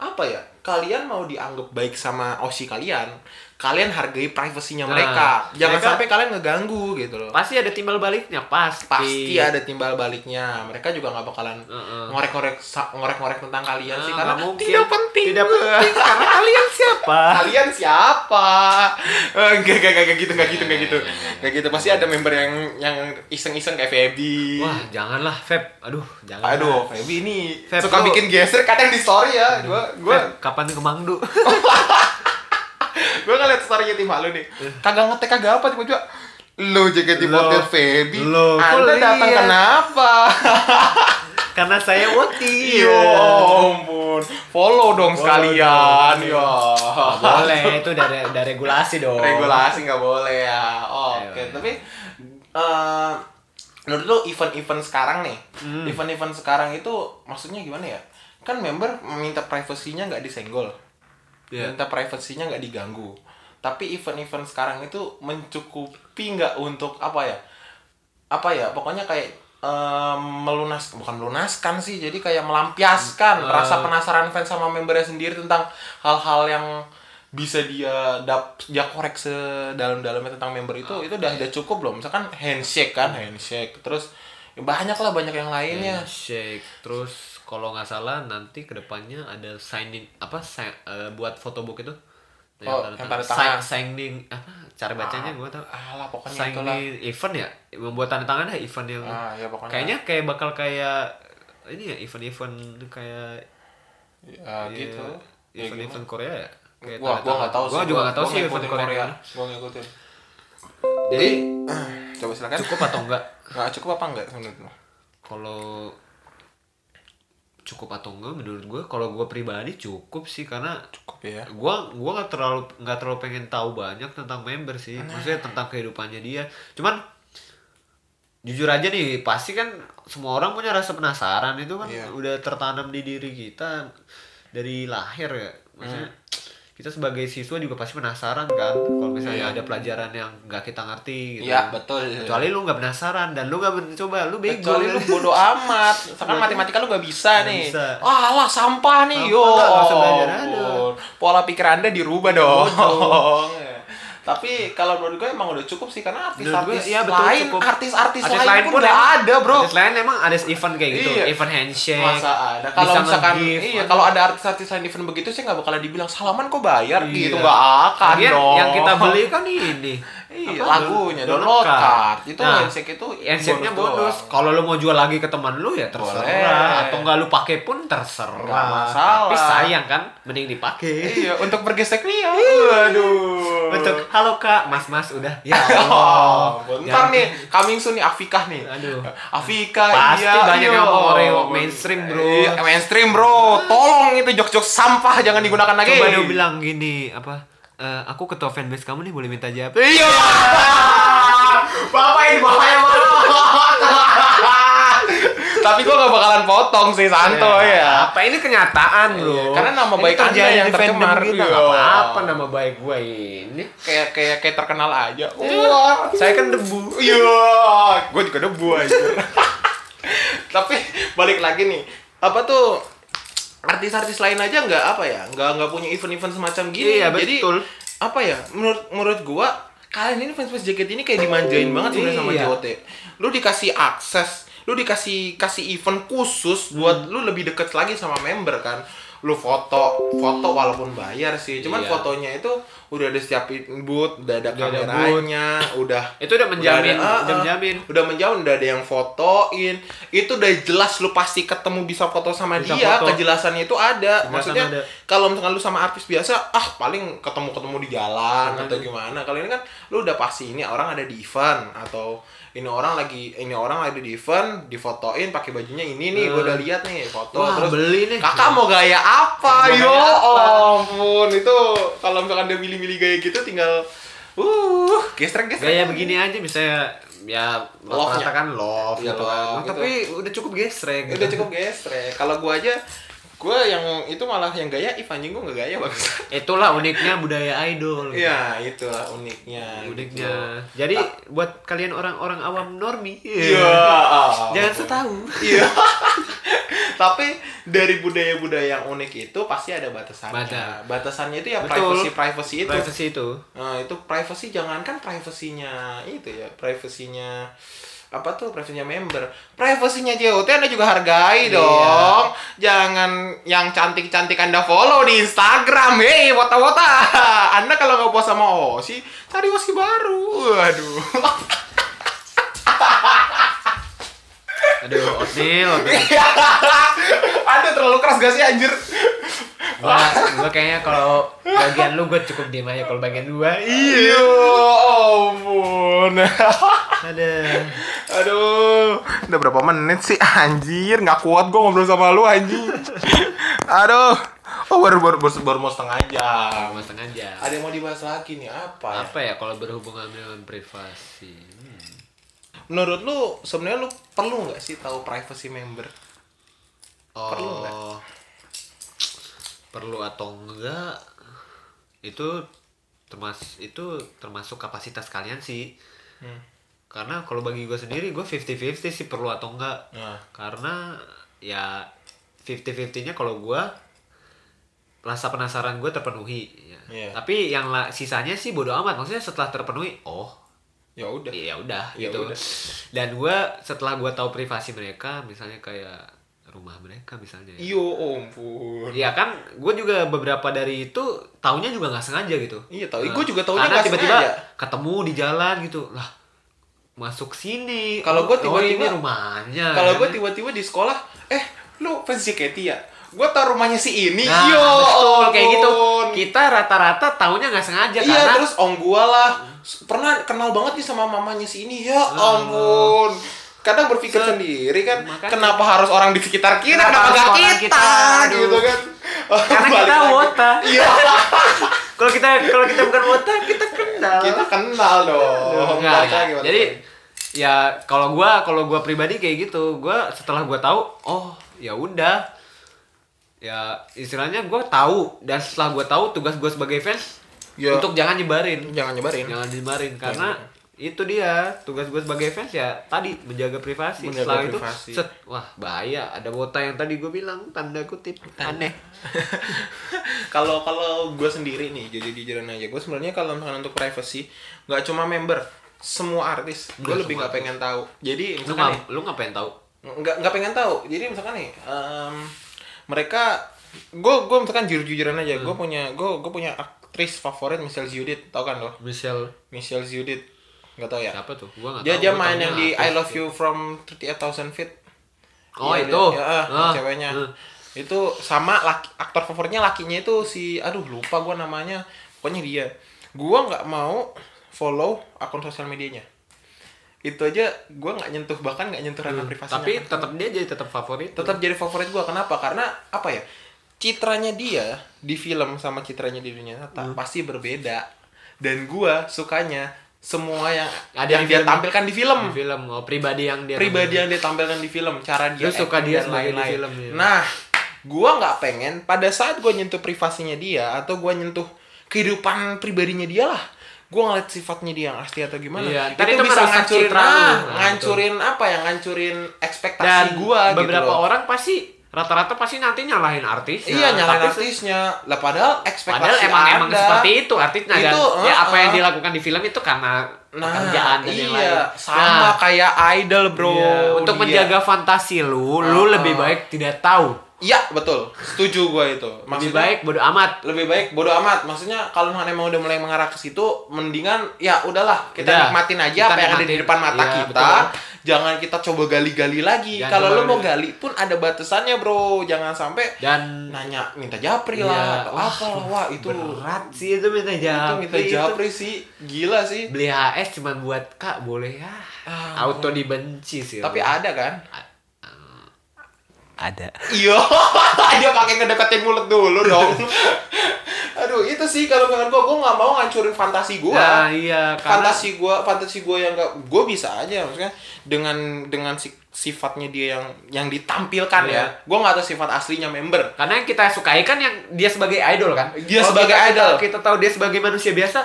Speaker 1: apa ya? Kalian mau dianggap baik sama OSI kalian, kalian hargai privasinya
Speaker 2: Nah,
Speaker 1: mereka. Jangan
Speaker 2: mereka-
Speaker 1: sampai kalian ngeganggu gitu loh.
Speaker 2: pasti ada timbal baliknya pasti
Speaker 1: Pasti ada timbal baliknya. Mereka juga nggak bakalan
Speaker 2: Heeh.
Speaker 1: ngorek-ngorek sa- ngorek-ngorek tentang kalian
Speaker 2: Ah,
Speaker 1: sih karena kan
Speaker 2: nggak mungkin.
Speaker 1: tidak penting.
Speaker 2: tidak penting karena kalian siapa
Speaker 1: kalian siapa? Eh, Enggak, enggak, enggak, enggak gitu, enggak gitu, enggak gitu.
Speaker 2: Iya,
Speaker 1: Enggak gitu, pasti ada member yang yang iseng-iseng kayak Feby.
Speaker 2: wah janganlah Feb aduh jangan
Speaker 1: Aduh, Feby ini
Speaker 2: Ah. Feb,
Speaker 1: suka
Speaker 2: lu-
Speaker 1: bikin geser kadang di story ya. Gua gua
Speaker 2: Eh, kapan ke Mangdu
Speaker 1: gua ngeliat story-nya tim lu nih.
Speaker 2: Eh.
Speaker 1: Kagak ngetek kagak apa tiba-tiba lo JKT48
Speaker 2: Lo.
Speaker 1: Feby.
Speaker 2: Lo,
Speaker 1: Anda
Speaker 2: kok
Speaker 1: datang
Speaker 2: liat?
Speaker 1: kenapa?
Speaker 2: karena saya Woti Ya
Speaker 1: Iya, ampun. Follow dong sekalian. Ya.
Speaker 2: Nggak Oh, boleh itu udah re- udah regulasi dong
Speaker 1: regulasi nggak boleh ya oh, oke
Speaker 2: Ayo, ayo.
Speaker 1: tapi eh menurut lu event-event sekarang nih
Speaker 2: Hmm.
Speaker 1: event-event sekarang itu maksudnya gimana ya kan member minta privasinya nggak disenggol
Speaker 2: Iya.
Speaker 1: minta privasinya nggak diganggu tapi event-event sekarang itu mencukupi nggak untuk apa ya apa ya pokoknya kayak eh, melunas bukan melunaskan sih jadi kayak melampiaskan
Speaker 2: Hmm. Ah.
Speaker 1: rasa penasaran fans sama membernya sendiri tentang hal-hal yang bisa dia dap dia korek sedalam-dalamnya tentang member itu
Speaker 2: Ah,
Speaker 1: itu udah udah cukup belum misalkan handshake kan
Speaker 2: Hmm.
Speaker 1: handshake terus ya banyak lah banyak yang lainnya
Speaker 2: Ya, Shake. Terus kalau nggak salah nanti kedepannya ada signing apa sign- eh, buat photobook itu. Yang
Speaker 1: Oh,
Speaker 2: tanda
Speaker 1: yang tanda
Speaker 2: tangan.
Speaker 1: tangan.
Speaker 2: Sign- signing apa cara bacanya gua tau.
Speaker 1: alah Ah pokoknya itulah
Speaker 2: Signing event ya membuat tanda tangan ya event yang
Speaker 1: ah ya pokoknya
Speaker 2: kayaknya kayak bakal kayak ini ya event-event kayak
Speaker 1: ya, gitu Ya,
Speaker 2: iya, event-event Korea ya. Kayak
Speaker 1: gua gua
Speaker 2: tanda
Speaker 1: nggak
Speaker 2: tangan.
Speaker 1: tahu
Speaker 2: Gua juga nggak tahu
Speaker 1: gua
Speaker 2: sih event
Speaker 1: ngikutin
Speaker 2: Korea.
Speaker 1: gua ngikutin
Speaker 2: Jadi
Speaker 1: coba silakan
Speaker 2: cukup atau enggak?
Speaker 1: nggak cukup apa enggak menurut lu
Speaker 2: Kalau cukup atau enggak menurut gua kalau gua pribadi cukup sih karena
Speaker 1: cukup ya
Speaker 2: gua gua nggak terlalu nggak terlalu pengen tahu banyak tentang member sih maksudnya tentang kehidupannya dia cuman jujur aja nih pasti kan semua orang punya rasa penasaran itu kan
Speaker 1: Iya.
Speaker 2: udah tertanam di diri kita dari lahir ya maksudnya
Speaker 1: Hmm.
Speaker 2: kita sebagai siswa juga pasti penasaran kan kalau misalnya
Speaker 1: Iya.
Speaker 2: ada pelajaran yang nggak kita ngerti gitu
Speaker 1: Iya, betul.
Speaker 2: kecuali lu nggak penasaran dan lu nggak mencoba lu bego
Speaker 1: Kecuali lu bodo amat. Misalkan
Speaker 2: Berarti-
Speaker 1: matematika lu gak bisa
Speaker 2: Nggak
Speaker 1: nih.
Speaker 2: bisa.
Speaker 1: Wah, alah sampah nih.
Speaker 2: Sampah,
Speaker 1: Yo.
Speaker 2: nggak usah belajar ada.
Speaker 1: ampun. Pola pikir Anda dirubah dong.
Speaker 2: ya.
Speaker 1: Tapi kalau menurut gue emang udah cukup sih karena artis-artis
Speaker 2: iya, betul,
Speaker 1: lain,
Speaker 2: cukup.
Speaker 1: artis-artis
Speaker 2: Artis
Speaker 1: lain,
Speaker 2: lain
Speaker 1: pun
Speaker 2: pun
Speaker 1: udah
Speaker 2: emang-
Speaker 1: ada, Bro.
Speaker 2: Artis lain emang ada event kayak gitu,
Speaker 1: Iya.
Speaker 2: event handshake.
Speaker 1: Masa ada kalau
Speaker 2: bisa
Speaker 1: misalkan
Speaker 2: nge-gift.
Speaker 1: iya kalau ada artis-artis lain event begitu sih nggak bakalan dibilang salaman kok bayar
Speaker 2: Iya.
Speaker 1: gitu nggak akan
Speaker 2: Lagian
Speaker 1: dong.
Speaker 2: Yang kita beli kan ini.
Speaker 1: Iya,
Speaker 2: Apa? Nah,
Speaker 1: lagunya download card. Itu handshake itu
Speaker 2: handshake-nya
Speaker 1: bonus
Speaker 2: bonus.
Speaker 1: doang.
Speaker 2: Kalau lu mau jual lagi ke teman lu ya terserah
Speaker 1: Boleh.
Speaker 2: atau enggak lu pakai pun terserah.
Speaker 1: Nggak masalah.
Speaker 2: Tapi sayang kan mending dipakai.
Speaker 1: Iya, untuk bergesek nih ya. Aduh.
Speaker 2: Iya. Untuk halo Kak, Mas-mas udah. Ya
Speaker 1: Oh,
Speaker 2: Allah.
Speaker 1: bentar
Speaker 2: Jangan-
Speaker 1: nih, coming soon nih Afika nih.
Speaker 2: Aduh.
Speaker 1: Afika
Speaker 2: Pasti
Speaker 1: iya,
Speaker 2: banyak
Speaker 1: iya.
Speaker 2: yang ngomongin mainstream, bro.
Speaker 1: Iya, mainstream bro. Tolong itu jok-jok sampah jangan digunakan lagi.
Speaker 2: Coba dia bilang gini, apa? "Eh, aku ketua fanbase kamu nih boleh minta jawab.
Speaker 1: Iya.
Speaker 2: Ah,
Speaker 1: Bapak ini bapak yang mana? Tapi gua gak bakalan potong sih santoy ya.
Speaker 2: Iya. Apa ini kenyataan bro?
Speaker 1: Iya, karena nama
Speaker 2: Ini
Speaker 1: baik Anda yang
Speaker 2: terjadi di fandom
Speaker 1: tercemar.
Speaker 2: kita,
Speaker 1: Iya.
Speaker 2: nggak apa-apa nama baik gue ini.
Speaker 1: Kayak kayak kayak terkenal aja. Wah.
Speaker 2: Saya kan debu.
Speaker 1: Iya, gue juga debu aja. Tapi balik lagi nih, apa tuh artis-artis lain aja nggak apa ya, nggak nggak punya event-event semacam gini.
Speaker 2: Iya,
Speaker 1: Jadi
Speaker 2: betul.
Speaker 1: apa ya, menurut menurut gue kalian ini fans-fans JKT ini kayak dimanjain banget sebenarnya sama
Speaker 2: Iya.
Speaker 1: JOT. Lu dikasih akses, lu dikasih kasih event khusus buat
Speaker 3: Hmm.
Speaker 1: lu lebih deket lagi sama member kan. Lu foto, foto walaupun bayar sih, cuman
Speaker 2: Iya.
Speaker 1: fotonya itu udah ada setiap booth, udah ada
Speaker 3: Udah ada
Speaker 1: kameranya, udah
Speaker 3: Itu udah menjamin,
Speaker 1: udah, ada-
Speaker 3: udah
Speaker 1: ah, ah.
Speaker 3: menjamin.
Speaker 1: udah menjamin, udah ada yang fotoin. Itu udah jelas lu pasti ketemu bisa foto sama
Speaker 2: Bisa
Speaker 1: dia,
Speaker 2: foto.
Speaker 1: kejelasannya itu ada.
Speaker 2: Kejelasan
Speaker 1: Maksudnya
Speaker 2: ada.
Speaker 1: kalau misalkan lu sama artis biasa, ah paling ketemu-ketemu di jalan atau gimana. Kalau ini kan lu udah pasti ini orang ada di event atau ini orang lagi ini orang lagi di event difotoin pakai bajunya ini nih gua udah lihat nih foto
Speaker 2: Wah,
Speaker 1: terus
Speaker 2: beli nih.
Speaker 1: kakak mau gaya apa
Speaker 2: Mau
Speaker 1: yo
Speaker 2: gaya apa?
Speaker 1: ampun itu kalau misalkan dia milih-milih gaya gitu tinggal uh gestrek gestrek
Speaker 2: Gaya begini aja misalnya ya
Speaker 1: Love-nya.
Speaker 2: rata-rata kan love
Speaker 1: Iya,
Speaker 2: gitu kan.
Speaker 1: love
Speaker 2: Oh,
Speaker 1: gitu.
Speaker 2: Tapi udah cukup gesrek gitu.
Speaker 1: udah cukup gestrek kalau gua aja gua yang itu malah yang gaya if anjing gua nggak gaya bagus
Speaker 2: Itulah uniknya budaya idol. gitu.
Speaker 1: ya itulah uniknya gitu.
Speaker 2: Uniknya. Jadi buat kalian orang-orang awam normi,
Speaker 1: Iya.
Speaker 2: jangan
Speaker 1: ampun.
Speaker 2: setahu.
Speaker 1: Iya. Tapi dari budaya-budaya yang unik itu pasti ada batasannya.
Speaker 2: Ada.
Speaker 1: Batasannya itu ya
Speaker 2: Betul.
Speaker 1: privacy privacy
Speaker 2: Gitu.
Speaker 1: itu.
Speaker 2: Privacy itu.
Speaker 1: Nah, itu privacy jangankan privasinya itu ya, privasinya apa tuh privasinya member privasinya JOT anda juga hargai
Speaker 2: Iya.
Speaker 1: dong jangan yang cantik cantik anda follow di Instagram hei wota wota anda kalau nggak puas sama Osi cari Osi baru aduh
Speaker 2: Aduh, Otil, Otil.
Speaker 1: aduh terlalu keras gak sih anjir
Speaker 2: Gua, gua kayaknya kalau bagian lu gua cukup diem aja kalau bagian gua. Ih.
Speaker 1: Iya, ampun.
Speaker 2: Ada.
Speaker 1: Aduh, udah berapa menit sih anjir? Nggak kuat gue ngobrol sama lu anjing. Aduh. Oh, baru baru, baru, baru mau setengah jam.
Speaker 2: Sama setengah jam.
Speaker 1: Ada yang mau dibahas lagi nih apa?
Speaker 2: Apa ya kalau berhubungan dengan privasi?
Speaker 1: Menurut lu sebenarnya lu perlu nggak sih tahu privacy member?
Speaker 2: Oh.
Speaker 1: Perlu
Speaker 2: Perlu
Speaker 1: nggak?
Speaker 2: atau enggak? Itu termas itu termasuk kapasitas kalian sih.
Speaker 1: Hmm.
Speaker 2: Karena kalau bagi gue sendiri gue 50-50 sih perlu atau enggak.
Speaker 1: Nah.
Speaker 2: Karena ya 50-50-nya kalau gue rasa penasaran gue terpenuhi. ya.
Speaker 1: Iya.
Speaker 2: Tapi yang la- sisanya sih bodo amat. Maksudnya setelah terpenuhi, oh
Speaker 1: Ya udah.
Speaker 2: ya udah
Speaker 1: Ya
Speaker 2: gitu
Speaker 1: udah.
Speaker 2: dan gue setelah gue tahu privasi mereka misalnya kayak rumah mereka misalnya ya.
Speaker 1: Iyo, ampun.
Speaker 2: Iya kan, gue juga beberapa dari itu taunya juga nggak sengaja gitu.
Speaker 1: Iya, tahu. Gua
Speaker 2: Nah,
Speaker 1: juga taunya
Speaker 2: karena
Speaker 1: nggak
Speaker 2: tiba-tiba
Speaker 1: sengaja.
Speaker 2: ketemu di jalan gitu lah masuk sini.
Speaker 1: Kalau gua
Speaker 2: Oh,
Speaker 1: tiba-tiba-
Speaker 2: ini rumahnya.
Speaker 1: Kalau gue
Speaker 2: kan?
Speaker 1: tiba-tiba di sekolah, eh lu fans JKT ya? Gue tau rumahnya si ini.
Speaker 2: nah,
Speaker 1: Yo,
Speaker 2: betul, kayak gitu.
Speaker 1: ampun.
Speaker 2: Kita rata-rata taunya nggak sengaja
Speaker 1: Iya
Speaker 2: Ya karena
Speaker 1: terus om gua lah s- pernah kenal banget nih sama mamanya si ini ya ampun kadang berpikir sendiri kan
Speaker 2: Ah. makanya-
Speaker 1: kenapa harus orang di sekitar kita kenapa,
Speaker 2: Kenapa harus
Speaker 1: nggak
Speaker 2: orang
Speaker 1: kita,
Speaker 2: kita? Aduh.
Speaker 1: gitu kan
Speaker 2: Karena
Speaker 1: Balik
Speaker 2: kita
Speaker 1: lagi.
Speaker 2: wota.
Speaker 1: iya
Speaker 2: kalau kita kalau kita bukan wota kita kenal.
Speaker 1: kita kenal dong
Speaker 2: Enggak,
Speaker 1: Balik
Speaker 2: enggak.
Speaker 1: lagi, balik
Speaker 2: Jadi
Speaker 1: lagi.
Speaker 2: ya kalau gua kalau gua pribadi kayak gitu, gua setelah gua tahu, oh ya udah. Ya istilahnya gua tahu dan setelah gua tahu tugas gua sebagai fans
Speaker 1: Ya.
Speaker 2: untuk jangan nyebarin.
Speaker 1: jangan nyebarin
Speaker 2: Jangan nyebarin karena itu dia tugas gue sebagai fans ya tadi menjaga privasi
Speaker 1: Menjaga
Speaker 2: setelah
Speaker 1: privasi.
Speaker 2: itu set wah bahaya ada wota yang tadi gue bilang tanda kutip aneh
Speaker 1: kalau kalau gue sendiri nih jadi jujur aja gue sebenarnya kalau misalkan untuk privacy nggak cuma member semua artis gue
Speaker 2: Nggak
Speaker 1: lebih
Speaker 2: semua
Speaker 1: nggak pengen tahu jadi
Speaker 2: lu
Speaker 1: misalkan nih,
Speaker 2: nggak lu ngapain tahu
Speaker 1: nggak nggak pengen tahu jadi misalkan nih em, mereka gue gue misalkan jujur jujuran aja gue
Speaker 2: Hmm.
Speaker 1: punya gue gue punya aktris favorit Michelle Ziudit tau kan lo
Speaker 2: Michelle
Speaker 1: Michelle Ziudit nggak tau ya
Speaker 2: siapa tuh gua nggak
Speaker 1: dia
Speaker 2: tahu,
Speaker 1: dia
Speaker 2: gua
Speaker 1: main
Speaker 2: taunya
Speaker 1: yang di
Speaker 2: artis
Speaker 1: I Love You from 38,000 Feet
Speaker 2: Oh,
Speaker 1: Iya,
Speaker 2: itu.
Speaker 1: dia- ya, eh,
Speaker 2: Ah,
Speaker 1: ceweknya
Speaker 2: eh.
Speaker 1: itu sama laki, aktor favoritnya lakinya itu si aduh lupa gue namanya pokoknya dia gue nggak mau follow akun sosial medianya itu aja gue nggak nyentuh bahkan nggak nyentuh ranah privasinya
Speaker 2: Hmm.
Speaker 1: kan?
Speaker 2: tapi tetap dia jadi tetap favorit
Speaker 1: tetap jadi favorit gua kenapa karena apa ya citranya dia di film sama citranya di dunia
Speaker 2: Hmm.
Speaker 1: nyata pasti berbeda dan gua sukanya semua yang
Speaker 2: Ada
Speaker 1: yang
Speaker 2: di
Speaker 1: dia
Speaker 2: film.
Speaker 1: tampilkan di film
Speaker 2: di film oh, pribadi yang dia
Speaker 1: pribadi yang dia tampilkan di film cara dia
Speaker 2: Lu suka
Speaker 1: acting
Speaker 2: dia
Speaker 1: dan
Speaker 2: sebagai di
Speaker 1: lain-lain.
Speaker 2: film, ya?
Speaker 1: nah gua nggak pengen pada saat gua nyentuh privasinya dia atau gua nyentuh kehidupan pribadinya dia lah gue ngeliat sifatnya dia yang asli atau gimana
Speaker 2: Iya, ntar itu merusak citra lu.
Speaker 1: ah,
Speaker 2: Nah,
Speaker 1: ngancurin apa ya ngancurin ekspektasi
Speaker 2: dan
Speaker 1: gua gitu
Speaker 2: beberapa
Speaker 1: loh.
Speaker 2: orang pasti rata-rata pasti nanti nyalahin artis ya.
Speaker 1: Iya nyalain
Speaker 2: Nah, tapi,
Speaker 1: artisnya. Lah padahal ekspektasi
Speaker 2: padahal emang
Speaker 1: ada.
Speaker 2: emang seperti itu artisnya dan
Speaker 1: Itu,
Speaker 2: ya
Speaker 1: eh,
Speaker 2: apa yang
Speaker 1: eh.
Speaker 2: dilakukan di film itu karena
Speaker 1: Nah,
Speaker 2: pekerjaan dan
Speaker 1: iya,
Speaker 2: yang lain
Speaker 1: sama
Speaker 2: Nah,
Speaker 1: kayak idol, Bro.
Speaker 2: iya, untuk
Speaker 1: Dia.
Speaker 2: menjaga fantasi lu lu
Speaker 1: Ah,
Speaker 2: lebih
Speaker 1: ah.
Speaker 2: baik tidak tahu
Speaker 1: Iya, betul. Setuju gue itu.
Speaker 2: Lebih
Speaker 1: Maksudnya,
Speaker 2: baik bodo amat.
Speaker 1: lebih baik bodo amat. Maksudnya kalau misalnya emang udah mulai mengarah ke situ, mendingan ya udahlah kita
Speaker 2: Udah,
Speaker 1: nikmatin aja
Speaker 2: kita
Speaker 1: apa yang ada di
Speaker 2: nikmatin.
Speaker 1: depan mata
Speaker 2: Iya,
Speaker 1: kita.
Speaker 2: betul.
Speaker 1: Jangan kita coba gali-gali lagi.
Speaker 2: Jangan
Speaker 1: Kalau
Speaker 2: coba
Speaker 1: lo mau
Speaker 2: gali-gali.
Speaker 1: gali pun ada batasannya, Bro. Jangan sampai
Speaker 2: Dan
Speaker 1: nanya minta japri
Speaker 2: Iya.
Speaker 1: lah atau
Speaker 2: Wah,
Speaker 1: apa lah. Wah, itu
Speaker 2: berat sih itu minta
Speaker 1: itu
Speaker 2: japri.
Speaker 1: minta
Speaker 2: itu.
Speaker 1: japri sih. Gila sih.
Speaker 2: Beli HS cuman buat Kak boleh ya.
Speaker 1: Ah.
Speaker 2: Auto dibenci sih.
Speaker 1: Tapi ada kan?
Speaker 4: Ada.
Speaker 1: Iya, dia pakai ngedeketin mulut dulu dong. Aduh, itu sih kalau dengan gua, gua nggak mau ngancurin fantasi gua.
Speaker 2: Nah, iya, karena
Speaker 1: fantasi gua, fantasi gua yang nggak, gua bisa aja maksudnya dengan dengan si- sifatnya dia yang yang ditampilkan ya.
Speaker 2: Iya.
Speaker 1: Gua nggak tahu sifat aslinya member.
Speaker 2: karena yang kita sukai kan yang dia sebagai idol kan.
Speaker 1: Dia
Speaker 2: Kalau
Speaker 1: sebagai
Speaker 2: kita, kita-
Speaker 1: idol.
Speaker 2: Kita, tahu dia sebagai manusia biasa.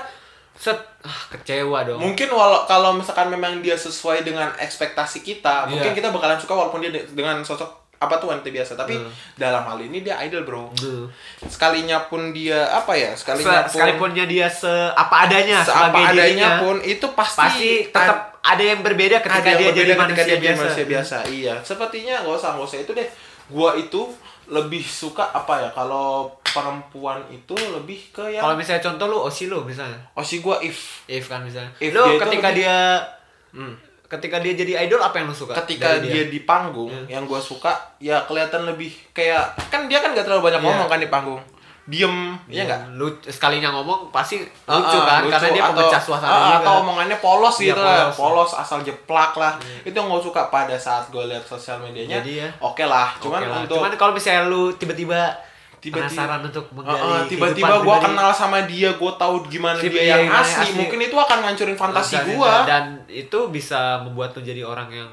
Speaker 2: Set ah, kecewa dong.
Speaker 1: Mungkin walau kalau misalkan memang dia sesuai dengan ekspektasi kita, mungkin kita bakalan suka walaupun dia de- dengan sosok apa tuh wanita biasa. Tapi dalam hal ini dia idol bro.
Speaker 2: Duh.
Speaker 1: Sekalinya pun dia apa ya? Sekalinya
Speaker 2: Se- Sekalipunnya dia seapa adanya
Speaker 1: seapa
Speaker 2: Ya, sebagai
Speaker 1: adanya
Speaker 2: dirinya,
Speaker 1: pun itu pasti,
Speaker 2: pasti tetap ada yang berbeda
Speaker 1: ada
Speaker 2: ketika
Speaker 1: yang
Speaker 2: dia jadi
Speaker 1: berbeda ketika
Speaker 2: manusia
Speaker 1: dia jadi
Speaker 2: biasa.
Speaker 1: manusia biasa. Iya, sepertinya gak usah gak usah itu deh. Gua itu lebih suka apa ya kalau perempuan itu lebih ke
Speaker 2: Kalau
Speaker 1: yang
Speaker 2: misalnya contoh lu Osi lu misalnya,
Speaker 1: oh si gua if
Speaker 2: If kan misalnya.
Speaker 1: If
Speaker 2: lu
Speaker 1: dia itu
Speaker 2: ketika
Speaker 1: lebih-
Speaker 2: dia
Speaker 1: Hmm.
Speaker 2: ketika dia jadi idol apa yang lu suka?
Speaker 1: ketika
Speaker 2: dari Hmm.
Speaker 1: dia. di panggung yang gua suka ya kelihatan lebih kayak kan dia kan gak terlalu banyak
Speaker 2: Iya.
Speaker 1: ngomong kan di panggung diem iya
Speaker 2: Iya
Speaker 1: nggak
Speaker 2: Lu sekalinya ngomong pasti
Speaker 1: Ah,
Speaker 2: lucu
Speaker 1: ah,
Speaker 2: kan karena dia
Speaker 1: atau-
Speaker 2: pemecah suasana
Speaker 1: ah,
Speaker 2: juga.
Speaker 1: atau omongannya polos
Speaker 2: Iya,
Speaker 1: gitu lah
Speaker 2: polos. Hmm.
Speaker 1: polos asal jeplak lah itu yang gue suka pada saat gue lihat sosial medianya
Speaker 2: Jadi ya.
Speaker 1: oke lah
Speaker 2: Oke
Speaker 1: cuman
Speaker 2: lah.
Speaker 1: untuk
Speaker 2: cuman kalau misalnya lu tiba-tiba
Speaker 1: Tiba-tiba-
Speaker 2: penasaran untuk menggali
Speaker 1: Ah, ah, tiba-tiba
Speaker 2: kehidupan
Speaker 1: gue
Speaker 2: pribadi,
Speaker 1: kenal sama dia gue tahu gimana
Speaker 2: Tiba-
Speaker 1: dia
Speaker 2: iya,
Speaker 1: yang
Speaker 2: gimana
Speaker 1: asli.
Speaker 2: asli.
Speaker 1: mungkin itu akan ngancurin fantasi
Speaker 2: dan-
Speaker 1: gue
Speaker 2: dan itu bisa membuat lu jadi orang yang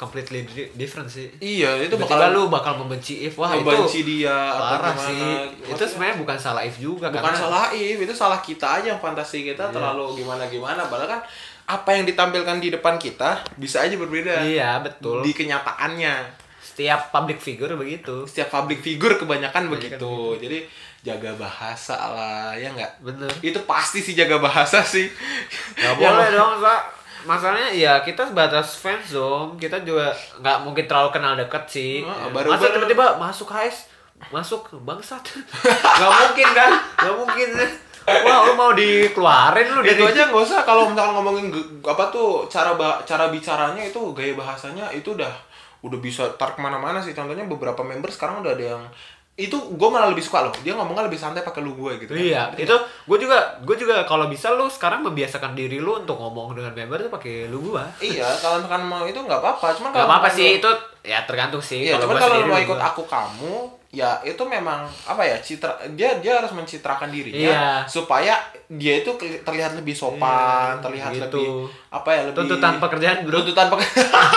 Speaker 2: completely di- different sih.
Speaker 1: iya itu
Speaker 2: Itu
Speaker 1: bakal
Speaker 2: bakal lu bakal membenci If wah
Speaker 1: benci
Speaker 2: itu
Speaker 1: dia atau
Speaker 2: parah
Speaker 1: gimana.
Speaker 2: sih. Itu
Speaker 1: Maksudnya,
Speaker 2: sebenarnya bukan salah If juga
Speaker 1: bukan
Speaker 2: karena- Iya.
Speaker 1: salah If itu salah kita aja yang fantasi kita terlalu gimana gimana padahal kan apa yang ditampilkan di depan kita bisa aja berbeda
Speaker 2: Iya, betul.
Speaker 1: di kenyataannya
Speaker 2: Setiap public figure begitu.
Speaker 1: setiap public figure kebanyakan begitu. Jadi jaga bahasa lah, ya nggak?
Speaker 2: Bener.
Speaker 1: Itu pasti sih jaga bahasa sih.
Speaker 2: Gak
Speaker 1: Ya,
Speaker 2: boleh dong, Pak. Masalahnya ya kita sebatas fans dong. Kita juga nggak mungkin terlalu kenal deket sih.
Speaker 1: Heeh,
Speaker 2: Ya.
Speaker 1: baru-
Speaker 2: Masa
Speaker 1: baru-
Speaker 2: tiba-tiba masuk HS, masuk bangsat. gak mungkin kan? Gak mungkin. Wah, lu mau dikeluarin lu dari
Speaker 1: Itu gitu aja nggak usah kalau misalkan ngomongin ge- apa tuh cara ba- cara bicaranya itu gaya bahasanya itu udah udah bisa tar kemana-mana sih. Contohnya beberapa member sekarang udah ada yang itu gue malah lebih suka loh. Dia ngomongnya lebih santai pakai lu gue gitu.
Speaker 2: Iya, itu gue juga gue juga kalau bisa lu sekarang membiasakan diri lu untuk ngomong dengan member tuh pakai lu gua.
Speaker 1: Iya, kalau misalkan mau itu nggak apa-apa. Cuman
Speaker 2: Gak
Speaker 1: kalau
Speaker 2: apa-apa
Speaker 1: misalkan
Speaker 2: sih
Speaker 1: lu-
Speaker 2: itu ya tergantung sih.
Speaker 1: Iya, cuman kalau
Speaker 2: gua
Speaker 1: lu
Speaker 2: sendiri
Speaker 1: mau
Speaker 2: lu
Speaker 1: ikut
Speaker 2: gua.
Speaker 1: aku kamu, ya itu memang apa ya citra dia dia harus mencitrakan dirinya
Speaker 2: Iya.
Speaker 1: supaya dia itu keli- terlihat lebih sopan,
Speaker 2: Iya,
Speaker 1: terlihat
Speaker 2: gitu.
Speaker 1: lebih apa ya lebih
Speaker 2: tuntutan pekerjaan bro.
Speaker 1: tuntutan pek-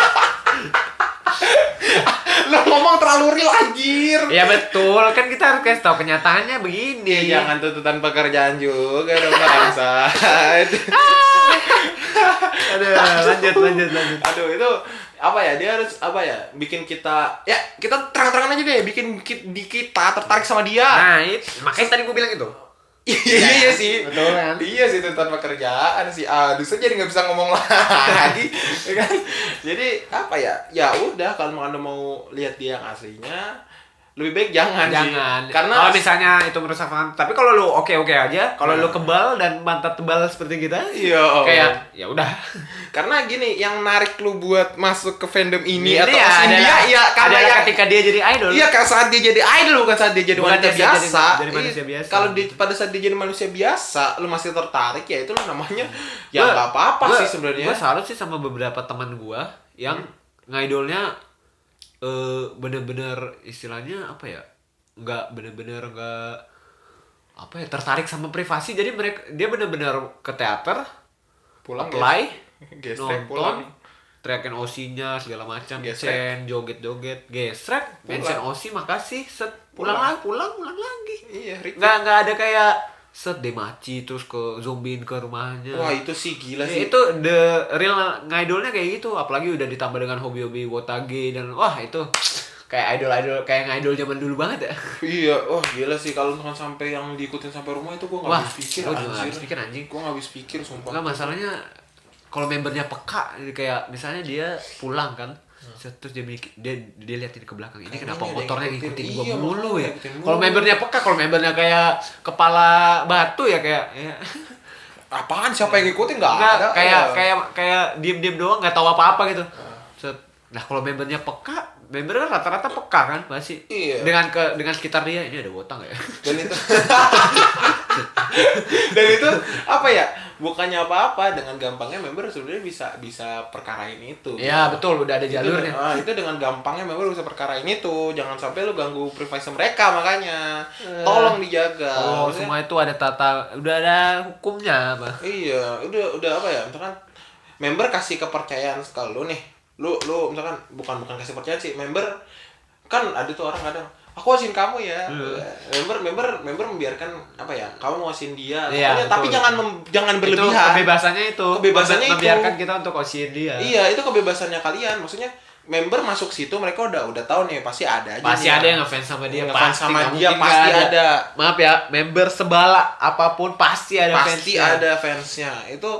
Speaker 1: Lu ngomong terlalu real anjir.
Speaker 2: Ya betul, kan kita harus kasih tahu kenyataannya begini.
Speaker 1: Ya, jangan tuntutan pekerjaan juga dong bangsa.
Speaker 2: Aduh, lanjut lanjut lanjut.
Speaker 1: Aduh itu apa ya dia harus apa ya bikin kita ya kita terang-terangan aja deh bikin ki- di kita tertarik sama dia.
Speaker 2: Nah, itu, makanya tadi gue bilang itu.
Speaker 1: Iya, iya, iya sih.
Speaker 2: Betul kan?
Speaker 1: Iya sih tentang pekerjaan sih. Aduh, saya jadi nggak bisa ngomong lagi. ya kan? Jadi apa ya? Ya udah kalau anda mau lihat dia yang aslinya, lebih baik jangan, sih.
Speaker 2: Jangan.
Speaker 1: Karena
Speaker 2: kalau misalnya itu merusak fantasi, tapi kalau lu oke-oke
Speaker 1: Nah.
Speaker 2: aja, kalau lu kebal dan mantap tebal seperti kita,
Speaker 1: Iya.
Speaker 2: kayak ya udah.
Speaker 1: karena gini, yang narik lu buat masuk ke fandom ini
Speaker 2: Iya,
Speaker 1: atau ke sini dia
Speaker 2: adalah-
Speaker 1: ya karena
Speaker 2: adalah
Speaker 1: yang
Speaker 2: ketika dia jadi idol.
Speaker 1: Iya, kan saat dia jadi idol bukan saat dia jadi
Speaker 2: Bukan
Speaker 1: wanita
Speaker 2: dia jadi-
Speaker 1: biasa.
Speaker 2: jadi manusia
Speaker 1: Iya,
Speaker 2: biasa.
Speaker 1: Kalau di- pada saat dia jadi manusia biasa, lu masih tertarik ya itu namanya ya
Speaker 2: Gua-
Speaker 1: nggak apa-apa
Speaker 2: gua-
Speaker 1: sih sebenarnya. Hmm.
Speaker 2: Gua salut sih sama beberapa teman gua yang ngidolnya eh, bener-bener istilahnya apa ya? Nggak bener-bener nggak apa ya tertarik sama privasi jadi mereka dia bener-bener ke teater
Speaker 1: Pulang ya?
Speaker 2: apply
Speaker 1: Gestrek pulang.
Speaker 2: nonton teriakin OC-nya segala macam
Speaker 1: Gestrek.
Speaker 2: mention joget-joget gestrek
Speaker 1: Pulang.
Speaker 2: mention OC makasih set
Speaker 1: Pulang.
Speaker 2: pulang, lagi pulang pulang lagi
Speaker 1: Iya, Rick.
Speaker 2: nggak nggak ada kayak set demaci terus ke zombiin ke rumahnya
Speaker 1: Wah itu sih gila
Speaker 2: Ya,
Speaker 1: sih.
Speaker 2: itu the real ngidolnya kayak gitu apalagi udah ditambah dengan hobi-hobi wotage dan wah itu kayak idol-idol kayak ngidol zaman dulu banget ya
Speaker 1: Iya, wah gila sih kalau misalkan sampai yang diikutin sampai rumah itu gua nggak
Speaker 2: Wah,
Speaker 1: habis pikir
Speaker 2: gua juga nggak
Speaker 1: anjir.
Speaker 2: habis pikir, anjing.
Speaker 1: Gua nggak habis pikir sumpah.
Speaker 2: nggak masalahnya kalau membernya peka kayak misalnya dia pulang kan Set, terus dia bikin- dia dia liatin ke belakang ini kenapa
Speaker 5: ini ada
Speaker 2: motornya
Speaker 5: yang
Speaker 2: ngikutin
Speaker 5: ngikutin.
Speaker 2: gua
Speaker 5: Iya,
Speaker 2: mulu
Speaker 5: makanya
Speaker 2: ya
Speaker 5: ngikutin
Speaker 2: kalau
Speaker 5: mulu.
Speaker 2: membernya peka kalau membernya kayak kepala batu ya kayak ya.
Speaker 1: Apaan siapa yang ngikutin nggak
Speaker 2: Nggak,
Speaker 1: ada.
Speaker 2: kayak
Speaker 1: ya.
Speaker 2: kayak kayak diem-diem doang nggak tahu apa-apa gitu. Set. Nah, kalau membernya peka, member kan rata-rata peka kan pasti.
Speaker 1: Iya.
Speaker 2: Dengan ke dengan sekitar dia ini ada botang nggak ya?
Speaker 1: dan itu dan itu apa ya bukannya apa-apa dengan gampangnya member sebenarnya bisa bisa perkarain itu
Speaker 2: Iya, betul udah ada
Speaker 1: Itu-
Speaker 2: jalurnya.
Speaker 1: ah, itu dengan gampangnya member bisa perkarain itu jangan sampai lu ganggu privasi mereka makanya tolong dijaga
Speaker 2: Eh. Oh,
Speaker 1: Maksudnya-
Speaker 2: semua itu ada tata, udah ada hukumnya, Bang.
Speaker 1: Iya, udah udah apa ya? Misalkan member kasih kepercayaan ke lu nih. Lu lu misalkan bukan bukan kasih percayaan sih, member kan ada tuh orang kadang aku wasin kamu ya.
Speaker 2: Hmm.
Speaker 1: Member member member membiarkan apa ya? Kamu wasin dia.
Speaker 2: Iya,
Speaker 1: Pokoknya, tapi
Speaker 2: betul.
Speaker 1: jangan mem- jangan berlebihan.
Speaker 2: Itu kebebasannya itu.
Speaker 1: Kebebasannya itu.
Speaker 2: membiarkan kita untuk osin dia.
Speaker 1: Iya, itu kebebasannya kalian. Maksudnya member masuk situ mereka udah udah tahu nih pasti ada aja. nih
Speaker 2: Pasti ada yang ngefans sama dia,
Speaker 1: Ngefans
Speaker 2: pasti
Speaker 1: sama
Speaker 2: nggak
Speaker 1: dia,
Speaker 2: mungkin
Speaker 1: Iya, pasti
Speaker 2: nggak
Speaker 1: ada.
Speaker 2: Maaf ya, member sebala apapun pasti ada
Speaker 1: pasti
Speaker 2: fansnya.
Speaker 1: ada fansnya itu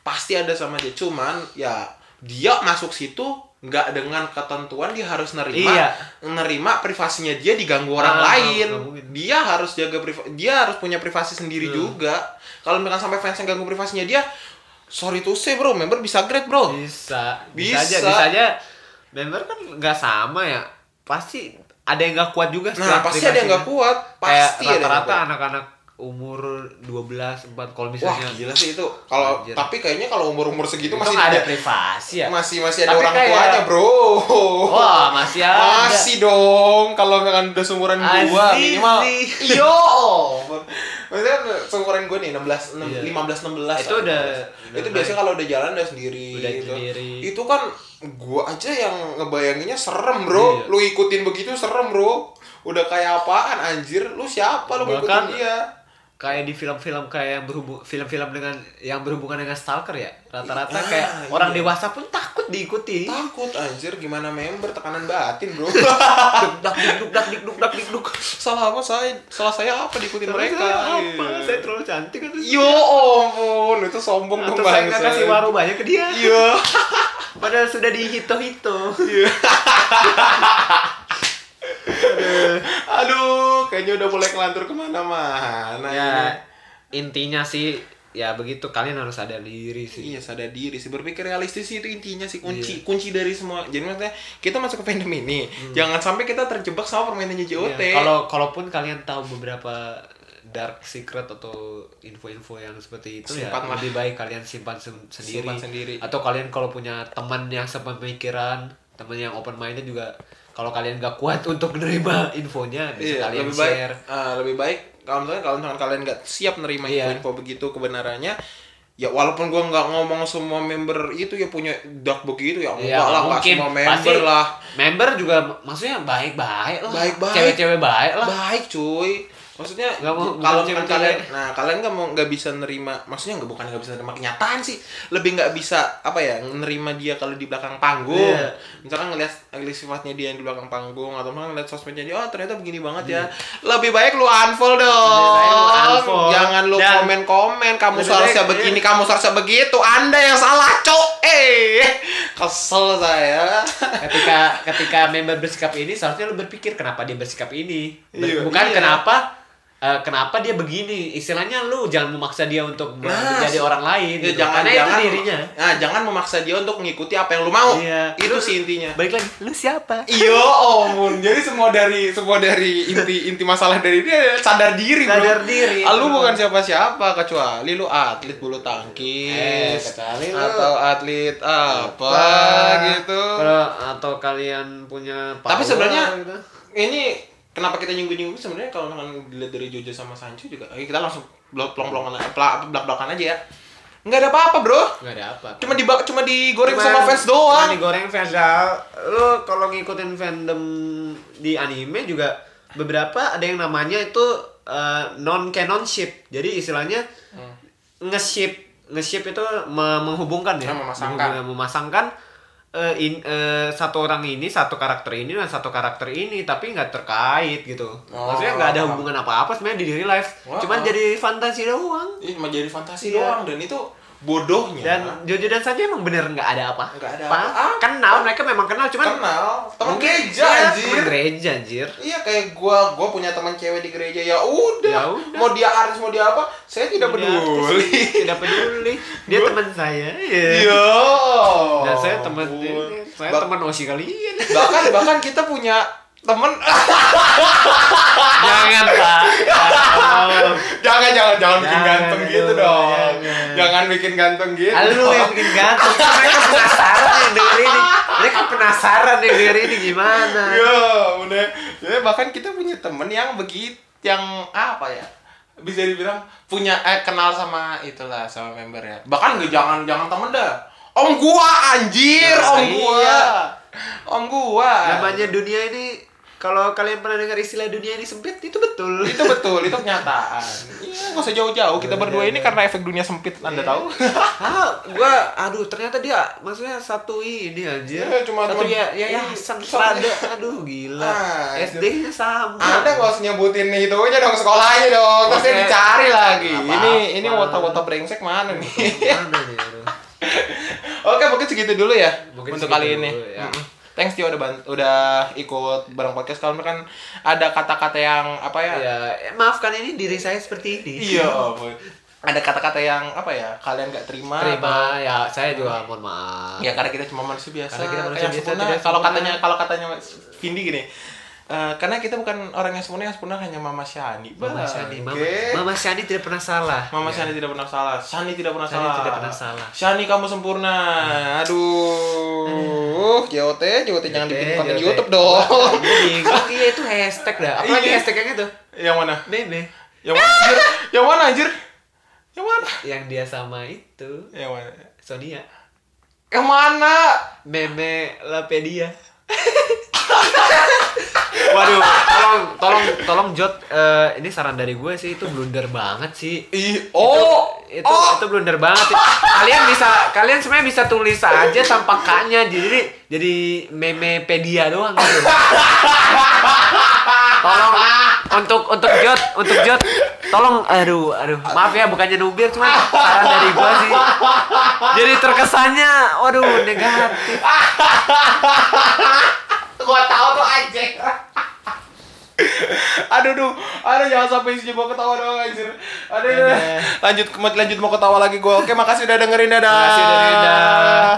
Speaker 1: pasti ada sama dia cuman ya dia masuk situ nggak dengan ketentuan dia harus nerima
Speaker 2: Iya.
Speaker 1: nerima privasinya dia diganggu orang
Speaker 2: Ah,
Speaker 1: lain
Speaker 2: nggak mungkin.
Speaker 1: dia harus jaga priva dia harus punya privasi
Speaker 2: Iya.
Speaker 1: sendiri juga kalau misalkan sampai fansnya ganggu privasinya dia sorry to say bro member bisa grade bro
Speaker 2: Iya. bisa bisa
Speaker 1: Bisa.
Speaker 2: aja bisa aja member kan nggak sama ya pasti ada yang nggak kuat juga
Speaker 1: nah
Speaker 2: setelah
Speaker 1: pasti ada yang nggak kuat
Speaker 2: aplikasinya.
Speaker 1: pasti ada
Speaker 2: kayak
Speaker 1: yang nggak
Speaker 2: rata-rata
Speaker 1: kuat.
Speaker 2: anak-anak umur 12 4
Speaker 1: wah
Speaker 2: kalau misalnya
Speaker 1: gila sih itu kalau
Speaker 2: Anjir.
Speaker 1: tapi kayaknya kalau umur umur segitu
Speaker 2: itu
Speaker 1: masih
Speaker 2: nggak ada
Speaker 1: ada-
Speaker 2: privasi ya
Speaker 1: masih masih ada
Speaker 2: Tapi
Speaker 1: orang
Speaker 2: kayak-
Speaker 1: tuanya bro
Speaker 2: wah masih ada
Speaker 1: Masih dong, kalau misalkan udah seumuran gua
Speaker 2: Azizi.
Speaker 1: minimal. Yo. Maksudnya kan seumuran gua nih 16 enam-
Speaker 2: Iya.
Speaker 1: 15 16.
Speaker 2: Itu udah-
Speaker 1: Itu
Speaker 2: udah
Speaker 1: biasanya
Speaker 2: naik.
Speaker 1: kalau udah jalan udah sendiri
Speaker 2: Udah
Speaker 1: gitu.
Speaker 2: sendiri.
Speaker 1: Itu kan gua aja yang ngebayanginnya serem, Bro.
Speaker 2: Iya.
Speaker 1: Lu ikutin begitu serem, Bro. Udah kayak apaan anjir? Lu siapa lu ngikutin
Speaker 2: Bahkan-
Speaker 1: dia?
Speaker 2: kayak di film-film kayak yang berhubung film-film dengan yang berhubungan dengan stalker ya rata-rata
Speaker 1: Ah,
Speaker 2: kayak
Speaker 1: iya.
Speaker 2: orang dewasa pun takut diikuti
Speaker 1: Takut anjir gimana member tekanan batin, Bro.
Speaker 2: dak duk dak dik duk dak dik duk
Speaker 1: salah apa saya? Salah saya apa diikutin mereka?
Speaker 2: mereka apa
Speaker 1: Iya.
Speaker 2: saya terlalu cantik kan
Speaker 1: Yo ampun, itu sombong dong
Speaker 2: atau saya nggak
Speaker 1: bangsa.
Speaker 2: kasih waru banyak ke dia
Speaker 1: Iya.
Speaker 2: Padahal sudah dihito-hito.
Speaker 1: Aduh, kayaknya udah mulai kelantur kemana-mana.
Speaker 2: ya, intinya sih ya begitu kalian harus sadar diri sih.
Speaker 1: Iya sadar diri sih berpikir realistis sih, itu intinya sih
Speaker 2: Iya.
Speaker 1: kunci kunci dari semua. Jadi maksudnya kita masuk ke pandemi ini, jangan sampai kita terjebak sama permainannya JOT.
Speaker 2: Ya, Hmm. Kalau kalaupun kalian tahu beberapa dark secret atau info-info yang seperti itu ya
Speaker 1: Simpanlah.
Speaker 2: lebih baik kalian simpan sen- sendiri.
Speaker 1: Simpan sendiri.
Speaker 2: Atau kalian kalau punya teman yang sepemikiran, teman yang open minded juga kalau kalian gak kuat untuk menerima infonya bisa
Speaker 1: Iya,
Speaker 2: kalian
Speaker 1: lebih baik
Speaker 2: share.
Speaker 1: eh, lebih baik kalau misalnya kalau misalkan kalian nggak siap nerima
Speaker 2: Iya.
Speaker 1: info begitu kebenarannya ya walaupun gua nggak ngomong semua member itu ya punya dark begitu ya enggak
Speaker 2: Iya,
Speaker 1: lah nggak
Speaker 2: mungkin.
Speaker 1: semua
Speaker 2: Pasti
Speaker 1: member lah
Speaker 2: Member juga mak- maksudnya baik-baik lah.
Speaker 1: Baik-baik.
Speaker 2: Cewek-cewek baik lah.
Speaker 1: baik cuy maksudnya
Speaker 2: Nggak mau-
Speaker 1: kalau misalkan
Speaker 2: bukan cewek-cewek.
Speaker 1: kalian nah kalian nggak mau nggak bisa nerima maksudnya nggak bukan nggak bisa nerima kenyataan sih lebih nggak bisa apa ya nerima dia kalau di belakang panggung
Speaker 2: Iya.
Speaker 1: misalkan ngeliat ngeliat sifatnya dia yang di belakang panggung atau misalkan ngeliat sosmednya dia oh ternyata begini banget ya lebih baik lu unfollow dong
Speaker 2: Iya. baik lu unfollow.
Speaker 1: jangan lu
Speaker 2: Dan-
Speaker 1: komen komen kamu
Speaker 2: Lebih
Speaker 1: seharusnya
Speaker 2: baik- iya.
Speaker 1: begini kamu seharusnya begitu anda yang salah cok eh kesel saya
Speaker 2: ketika ketika member bersikap ini seharusnya lo berpikir kenapa dia bersikap ini Ber-
Speaker 1: Iya.
Speaker 2: bukan
Speaker 1: Iya.
Speaker 2: kenapa eh, kenapa dia begini istilahnya lu jangan memaksa dia untuk ber-
Speaker 1: Nah,
Speaker 2: menjadi orang lain
Speaker 1: Ya,
Speaker 2: gitu.
Speaker 1: jangan
Speaker 2: karena
Speaker 1: jangan
Speaker 2: itu dirinya
Speaker 1: Nah, jangan memaksa dia untuk mengikuti apa yang lu mau.
Speaker 2: Iya.
Speaker 1: Itu sih intinya.
Speaker 2: balik lagi lu siapa
Speaker 1: Iya, omun. Jadi semua dari semua dari inti inti masalah dari dia adalah sadar diri, bro.
Speaker 2: Sadar diri,
Speaker 1: Ah, lu
Speaker 2: bro.
Speaker 1: bukan siapa-siapa kecuali lu atlet bulu tangkis
Speaker 2: Eh, kecuali lu
Speaker 1: atau atlet apa, gitu.
Speaker 2: Kalau- atau kalian punya
Speaker 1: Tapi
Speaker 2: power
Speaker 1: sebenarnya
Speaker 2: gitu.
Speaker 1: ini kenapa kita nyinggung-nyinggung sebenarnya kalau misalkan dilihat dari Jojo sama Sancho juga, eh, kita langsung blok blok belak-belakan aja ya. Nggak ada apa-apa, bro.
Speaker 2: nggak ada apa
Speaker 1: Cuma di cuma digoreng
Speaker 2: Cuman-
Speaker 1: sama fans
Speaker 2: cuman
Speaker 1: doang.
Speaker 2: digoreng fans dah. Lu kalau ngikutin fandom di anime juga beberapa ada yang namanya itu non canon ship. Jadi istilahnya
Speaker 1: Hmm.
Speaker 2: nge-ship nge-ship itu me- menghubungkan ya,
Speaker 1: Ah, memasangkan.
Speaker 2: Menghubungkan- memasangkan eh, in- eh, satu orang ini, satu karakter ini dan satu karakter ini tapi nggak terkait gitu.
Speaker 1: Oh,
Speaker 2: Maksudnya nggak ada
Speaker 1: paham.
Speaker 2: hubungan apa-apa sebenarnya di real life.
Speaker 1: Wah,
Speaker 2: Cuman
Speaker 1: ah.
Speaker 2: jadi fantasi doang.
Speaker 1: Ini cuma jadi fantasi
Speaker 2: Iya.
Speaker 1: doang dan itu bodohnya
Speaker 2: Ya. Dan Jojo dan saja emang bener nggak ada apa.
Speaker 1: Nggak ada
Speaker 2: Apa?
Speaker 1: apa-apa.
Speaker 2: Kenal mereka memang kenal cuman
Speaker 1: kenal teman
Speaker 2: kan Mungkin-
Speaker 1: gereja
Speaker 2: Iya,
Speaker 1: anjir
Speaker 2: temen gereja anjir.
Speaker 1: Iya kayak gua, gua punya teman cewek di gereja ya udah.
Speaker 2: Ya udah.
Speaker 1: Mau dia artis mau dia apa, saya tidak
Speaker 2: Dia artis,
Speaker 1: peduli.
Speaker 2: Iya, Tidak peduli. Dia teman saya. Iya.
Speaker 1: Yo.
Speaker 2: Dan saya teman
Speaker 1: ampun.
Speaker 2: saya
Speaker 1: Bah-
Speaker 2: teman Osi kalian.
Speaker 1: bahkan bahkan kita punya temen
Speaker 2: Jangan, Pak. Jangan.
Speaker 1: jangan jangan jangan bikin
Speaker 2: Jangan,
Speaker 1: ganteng
Speaker 2: aduh,
Speaker 1: gitu dong
Speaker 2: jangan.
Speaker 1: jangan bikin ganteng gitu
Speaker 2: Halo ya. yang bikin ganteng. Mereka penasaran yang denger ini. Mereka penasaran yang denger ini gimana.
Speaker 1: Yo, udah. Iya, Ya, bahkan kita punya temen yang begitu, yang apa ya? Bisa dibilang punya eh kenal sama itulah sama member ya. Bahkan nggak jangan jangan temen dah. Om gua anjir,
Speaker 2: Nah,
Speaker 1: om gua.
Speaker 2: iya.
Speaker 1: Om gua.
Speaker 2: Namanya dunia ini kalau kalian pernah dengar istilah dunia ini sempit itu betul.
Speaker 1: itu betul, itu kenyataan. Iya, nggak usah jauh-jauh. Kita berdua ini karena efek dunia sempit, Anda tahu.
Speaker 2: ah, gua aduh ternyata dia maksudnya satu ini anjir.
Speaker 1: Iya, cuma-
Speaker 2: satu
Speaker 1: cuma-
Speaker 2: ya ya ya sentrada. Aduh gila.
Speaker 1: Ah,
Speaker 2: SD-nya sama.
Speaker 1: Anda nggak usah nyebutin itu aja dong sekolahnya dong. Terus dia
Speaker 2: Oke.
Speaker 1: dicari lagi.
Speaker 2: Apa-apa.
Speaker 1: Ini ini wota-wota brengsek mana nih?
Speaker 2: Mana nih, aduh.
Speaker 1: Oke, mungkin segitu dulu ya
Speaker 2: Mungkin
Speaker 1: untuk
Speaker 2: segitu
Speaker 1: kali
Speaker 2: dulu
Speaker 1: ini.
Speaker 2: ya.
Speaker 1: Mm-mm. Thanks Tio udah bant- udah ikut bareng podcast kalian kan ada kata-kata yang apa ya?
Speaker 2: Ya, eh, maafkan ini diri saya seperti ini.
Speaker 1: Iya, ampun. Ada kata-kata yang apa ya? Kalian nggak terima?
Speaker 2: Terima ya, saya juga mohon maaf.
Speaker 1: Ya karena kita cuma manusia biasa.
Speaker 2: Karena kita manusia
Speaker 1: yang
Speaker 2: biasa,
Speaker 1: sempurna.
Speaker 2: tidak
Speaker 1: Kalau
Speaker 2: sempurna.
Speaker 1: katanya kalau katanya Vindi gini. eh, karena kita bukan orang yang sempurna, yang sempurna hanya Mama Shani. Bah,
Speaker 2: Mama Shani, Mama,
Speaker 1: oke.
Speaker 2: Mama Shani tidak pernah salah.
Speaker 1: Mama
Speaker 2: Ya.
Speaker 1: Shani tidak pernah salah. Iya. Shani tidak pernah
Speaker 2: Shani
Speaker 1: salah. Iya.
Speaker 2: tidak pernah salah.
Speaker 1: Shani kamu sempurna. Aduh, JOT, JOT jangan
Speaker 2: Oke,
Speaker 1: dibikin konten
Speaker 2: oke.
Speaker 1: YouTube dong.
Speaker 2: Gua bingung. iya itu hashtag dah. Apalagi
Speaker 1: Iya.
Speaker 2: hashtag yang itu?
Speaker 1: Yang mana?
Speaker 2: Meme.
Speaker 1: Yang mana anjir? Yang mana anjir? Yang mana?
Speaker 2: Yang dia sama itu
Speaker 1: Yang mana?
Speaker 2: Sonia.
Speaker 1: Yang mana?
Speaker 2: Meme Lapedia. Waduh, tolong tolong tolong Jot eh, ini saran dari gue sih itu blunder banget sih.
Speaker 1: Ih, oh,
Speaker 2: itu
Speaker 1: oh.
Speaker 2: itu blunder banget sih. Kalian bisa kalian sebenarnya bisa tulis aja tanpa kaknya jadi jadi memepedia doang gitu. Tolong untuk untuk Jot, untuk Jot tolong aduh aduh maaf ya bukannya nubir cuma saran dari gua sih. Jadi terkesannya waduh negatif.
Speaker 1: gua tahu tuh anjing. aduh duh, aduh jangan sampai isinya gua ketawa dong anjir. Aduh, aduh. lanjut lanjut mau ketawa lagi gua. Oke, makasih udah dengerin dadah.
Speaker 2: Makasih udah dengerin, dah.